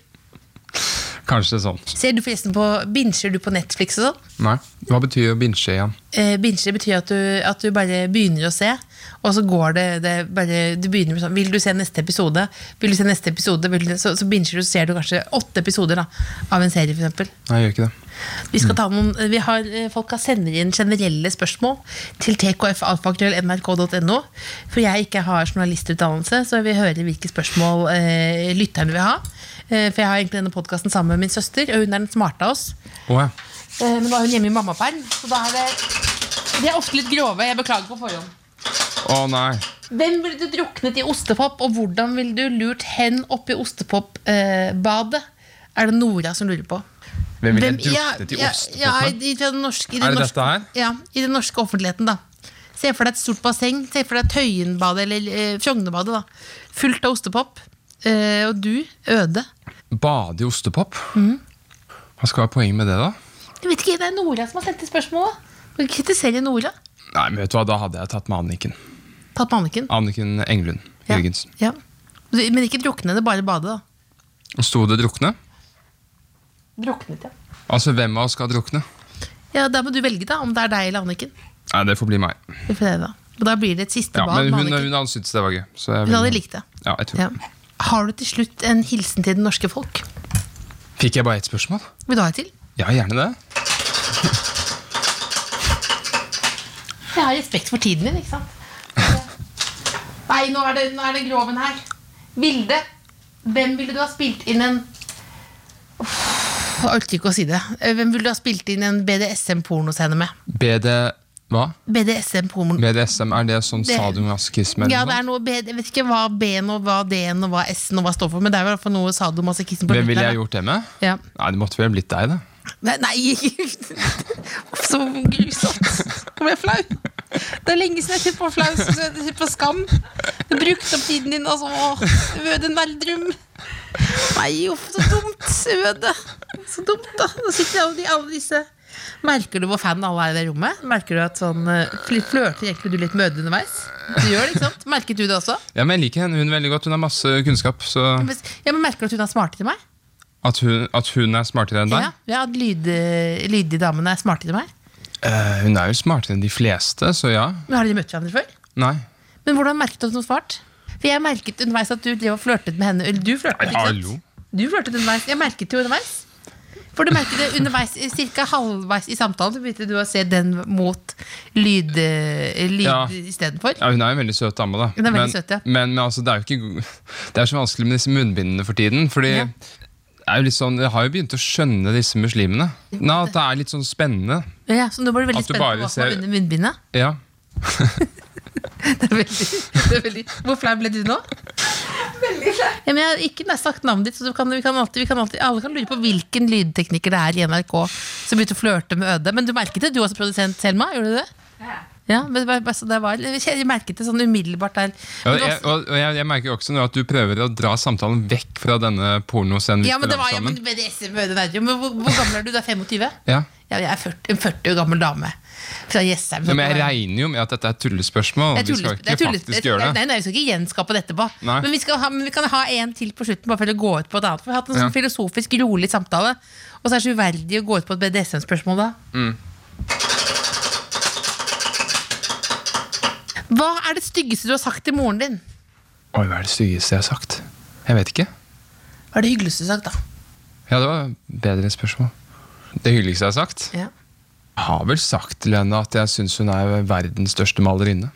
Speaker 4: Kanskje sånn.
Speaker 3: Ser du forresten på Binsjer du på Netflix og sånn?
Speaker 4: Nei. Hva betyr å binsje igjen?
Speaker 3: Eh, binsjer betyr at du, at du bare begynner å se, og så går det, det er bare, Du begynner med sånn Vil du se neste episode? Vil du se neste episode? Vil du, så, så binsjer du, så ser du kanskje åtte episoder da, av en serie, for eksempel.
Speaker 4: Nei, jeg gjør ikke det.
Speaker 3: Vi skal ta noen, eh, vi har, folk har sender inn generelle spørsmål til tkfalfakrøll.nrk.no. For jeg ikke har journalistutdannelse, så jeg vil høre hvilke spørsmål eh, lytterne vil ha. Eh, for jeg har egentlig denne podkasten sammen med min søster, og hun er den smarte av oss.
Speaker 4: Å ja.
Speaker 3: Eh, nå var hun hjemme i mammaperm, så da er det De er ofte litt grove. Jeg beklager på forhånd.
Speaker 4: Å nei.
Speaker 3: Hvem ville du druknet i ostepop, og hvordan ville du lurt hen oppi ostepopbadet? Eh, er det Nora som lurer på.
Speaker 4: Hvem ville
Speaker 3: Hvem-
Speaker 4: druknet i
Speaker 3: ja,
Speaker 4: ostepotten?
Speaker 3: ja, i, i, fra den norske, i den
Speaker 4: Er det
Speaker 3: norske,
Speaker 4: dette her?
Speaker 3: Ja, i den norske offentligheten, da. Se for deg et stort basseng. Se for deg Tøyenbadet eller eh, Frognerbadet. da Fullt av ostepop. Eh, og du, Øde.
Speaker 4: Bade i ostepop?
Speaker 3: Mhm.
Speaker 4: Hva skal være poenget med det, da?
Speaker 3: Jeg vet ikke, Det er Nora som har sendt inn spørsmålet. Kan ikke kritisere Nora.
Speaker 4: Nei, men vet du hva, Da hadde jeg tatt med Anniken.
Speaker 3: Tatt med Anniken.
Speaker 4: Anniken Englund
Speaker 3: Ja.
Speaker 4: Jørgensen.
Speaker 3: Ja. Du- Men ikke drukne, det er bare bade, da.
Speaker 4: Sto det 'drukne'?
Speaker 3: Druknet, ja.
Speaker 4: Altså, hvem av oss skal drukne?
Speaker 3: Ja, Da må du velge, da, om det er deg eller Anniken.
Speaker 4: Nei, det får bli meg.
Speaker 3: Vi får se, da. Og da blir det et siste
Speaker 4: Ja,
Speaker 3: bad
Speaker 4: men
Speaker 3: med
Speaker 4: hun,
Speaker 3: Anniken.
Speaker 4: hun, hun syntes det var gøy. Så jeg
Speaker 3: Hun hadde
Speaker 4: ville-
Speaker 3: likt det.
Speaker 4: Ja, jeg tror
Speaker 3: Ja. Har du til slutt en hilsen til det norske folk?
Speaker 4: Fikk jeg bare ett spørsmål?
Speaker 3: Vil du ha et til?
Speaker 4: Ja, gjerne det.
Speaker 3: Jeg har respekt for tiden din, ikke sant? Nei, nå er det, nå er det groven her. Vilde, hvem ville du ha spilt inn en Uff, Jeg orker ikke å si det. Eh, Hvem ville du ha spilt inn en BDSM-pornoscene med?
Speaker 4: BD... Hva?
Speaker 3: BDSM-porno...
Speaker 4: BDSM, er det sånn
Speaker 3: Det-
Speaker 4: sadomasochisme? eller
Speaker 3: Ja,
Speaker 4: noe
Speaker 3: det
Speaker 4: sånt?
Speaker 3: er noe B, jeg vet ikke hva B-en og hva D-en og hva S-en og hva står for, men det er i hvert fall noe sadomasochisme på
Speaker 4: Hvem ville jeg
Speaker 3: slutten
Speaker 4: gjort det med?
Speaker 3: her, da. Ja.
Speaker 4: Nei, det måtte vel blitt deg, da.
Speaker 3: Nei, nei Så grusomt. Nå ble jeg flau. Det er lenge siden jeg har sett på flau så jeg har sett på Skam. Du brukte opp tiden din, altså. Åh, Øde Nerdrum. Nei, uff, så dumt. Øde. Så dumt, da. Nå sitter jeg og de alle disse Merker du hvor fan alle er i det rommet? Merker du at sånn eh, fl- Flørter egentlig du litt med Øde underveis? Du gjør det, ikke sant? Merket du det også?
Speaker 4: Ja, men Jeg liker henne hun veldig godt. Hun har masse kunnskap. Så
Speaker 3: Men- Ja, men Merker du at hun er smartere enn meg?
Speaker 4: at hun, at hun er smartere enn deg
Speaker 3: Ja, ja at lyd, eh, lydige damene er smartere enn meg?
Speaker 4: Eh, Hun er jo smartere enn de fleste, så ja.
Speaker 3: Men Har dere møtt hverandre før?
Speaker 4: Nei.
Speaker 3: Men hvordan merket du at hun svarte? For jeg merket underveis at du drev og flørtet med henne. Eller du flørtet, ikke
Speaker 4: hallo.
Speaker 3: sant? Du flørtet underveis. Jeg merket det jo underveis. For du merket det underveis, cirka halvveis i samtalen, så begynte du å se den mot lyd, eh, lyd
Speaker 4: Ja.
Speaker 3: istedenfor.
Speaker 4: Ja, hun er jo en veldig søt dame, da.
Speaker 3: Hun er veldig
Speaker 4: men,
Speaker 3: søt, ja.
Speaker 4: men, men altså, det er jo ikke go- Det er så vanskelig med disse munnbindene for tiden. Fordi
Speaker 3: Ja.
Speaker 4: det er jo litt sånn, jeg har jo begynt å skjønne disse muslimene. Nei, At det er litt sånn spennende.
Speaker 3: Ja, så nå ble du veldig
Speaker 4: At du
Speaker 3: spent på
Speaker 4: bare
Speaker 3: hva som var
Speaker 4: ser-
Speaker 3: under munnbindet.
Speaker 4: Ja.
Speaker 3: Det er veldig, det er veldig. Hvor flau ble du nå? Veldig flau. Ja, men jeg har ikke nær sagt navnet ditt, så du kan, vi kan alltid, vi kan alltid, alle kan lure på hvilken lydtekniker det er i NRK som begynte å flørte med Øde. Men du merket det, du også, produsent Selma? Gjorde du det? Ja, men det var, bare så det var, jeg merket det sånn umiddelbart der.
Speaker 4: Og
Speaker 3: Men det
Speaker 4: jeg,
Speaker 3: var-
Speaker 4: og og jeg, jeg merker jo også nå at du prøver å dra samtalen vekk fra denne pornoscenen. vi
Speaker 3: ja, men det
Speaker 4: skal
Speaker 3: var
Speaker 4: lage
Speaker 3: ja,
Speaker 4: sammen.
Speaker 3: men BDSM med Øde Nerdrum. Men hvor, hvor gammel er du? Du er 25?
Speaker 4: Ja.
Speaker 3: Ja, jeg er 40, en 40 år gammel dame fra Jessheim.
Speaker 4: Ja, men jeg regner jo med at dette er tullespørsmål.
Speaker 3: Det er
Speaker 4: Vi skal
Speaker 3: tulles- det er
Speaker 4: ikke
Speaker 3: tulles-
Speaker 4: faktisk gjøre det.
Speaker 3: Nei, nei, vi skal ikke gjenskape det etterpå.
Speaker 4: Nei.
Speaker 3: Men vi, skal ha, men vi kan ha en til på slutten, bare for å gå ut på et annet. For vi har hatt en sånn
Speaker 4: Ja.
Speaker 3: filosofisk, rolig samtale, og så er det så uverdig å gå ut på et BDSM-spørsmål da.
Speaker 4: Mm.
Speaker 3: Hva er det styggeste du har sagt til moren din?
Speaker 4: Oi, hva er det styggeste jeg har sagt? Jeg vet ikke.
Speaker 3: Hva er det hyggeligste du har sagt, da?
Speaker 4: Ja, det var bedre spørsmål. Det hyggeligste jeg har sagt?
Speaker 3: Ja.
Speaker 4: Jeg har vel sagt til henne at jeg syns hun er verdens største malerinne.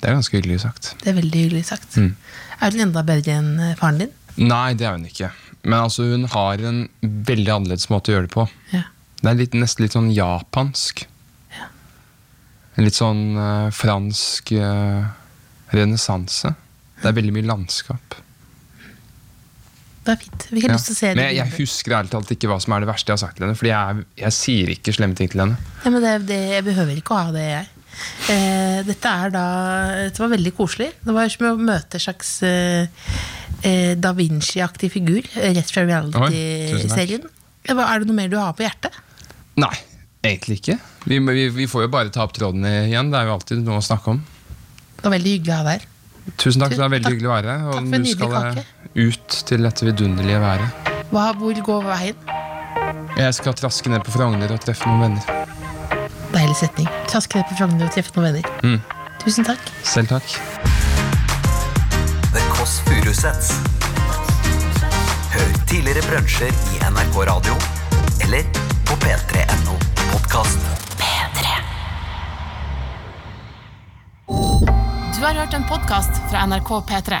Speaker 4: Det er ganske hyggelig sagt.
Speaker 3: Det er veldig hyggelig sagt.
Speaker 4: Mm.
Speaker 3: Er hun enda bedre enn eh, faren din?
Speaker 4: Nei, det er hun ikke. Men altså, hun har en veldig annerledes måte å gjøre det på.
Speaker 3: Ja.
Speaker 4: Det er litt, nesten litt sånn japansk. Litt sånn eh, fransk uh, renessanse. Det er veldig mye landskap.
Speaker 3: Det er fint. Vi kan
Speaker 4: Ja.
Speaker 3: lyst til å se det.
Speaker 4: Men jeg, jeg husker ærlig talt ikke hva som er det verste jeg har sagt til henne. Fordi jeg, jeg sier ikke slemme ting til henne.
Speaker 3: Ja, men det, det, jeg behøver ikke å ha det, jeg. Eh, dette er da Dette var veldig koselig. Det var som å møte en slags eh, eh, da Vinci-aktig figur eh, rett fra
Speaker 4: Oi, tusen takk.
Speaker 3: reality-serien. Ja, hva- Er det noe mer du har på hjertet?
Speaker 4: Nei, egentlig ikke. Vi, vi, vi får jo bare ta opp tråden igjen. Det er jo alltid noe å snakke om.
Speaker 3: Det var veldig hyggelig å ha deg her.
Speaker 4: Tusen takk, det var veldig
Speaker 3: Takk.
Speaker 4: hyggelig å være her.
Speaker 3: Takk
Speaker 4: Og
Speaker 3: for en
Speaker 4: nå
Speaker 3: nydelig
Speaker 4: skal jeg ut til dette vidunderlige været.
Speaker 3: Hva, hvor går veien?
Speaker 4: Jeg skal traske ned på Frogner og treffe noen venner.
Speaker 3: Deilig setning. Traske ned på Frogner og treffe noen venner.
Speaker 4: Mm.
Speaker 3: Tusen takk.
Speaker 4: Selv takk.
Speaker 2: The Kåss Furuseths. Hør tidligere brunsjer i NRK Radio eller på p3.no podkast.
Speaker 1: Du har hørt en podkast fra NRK P3.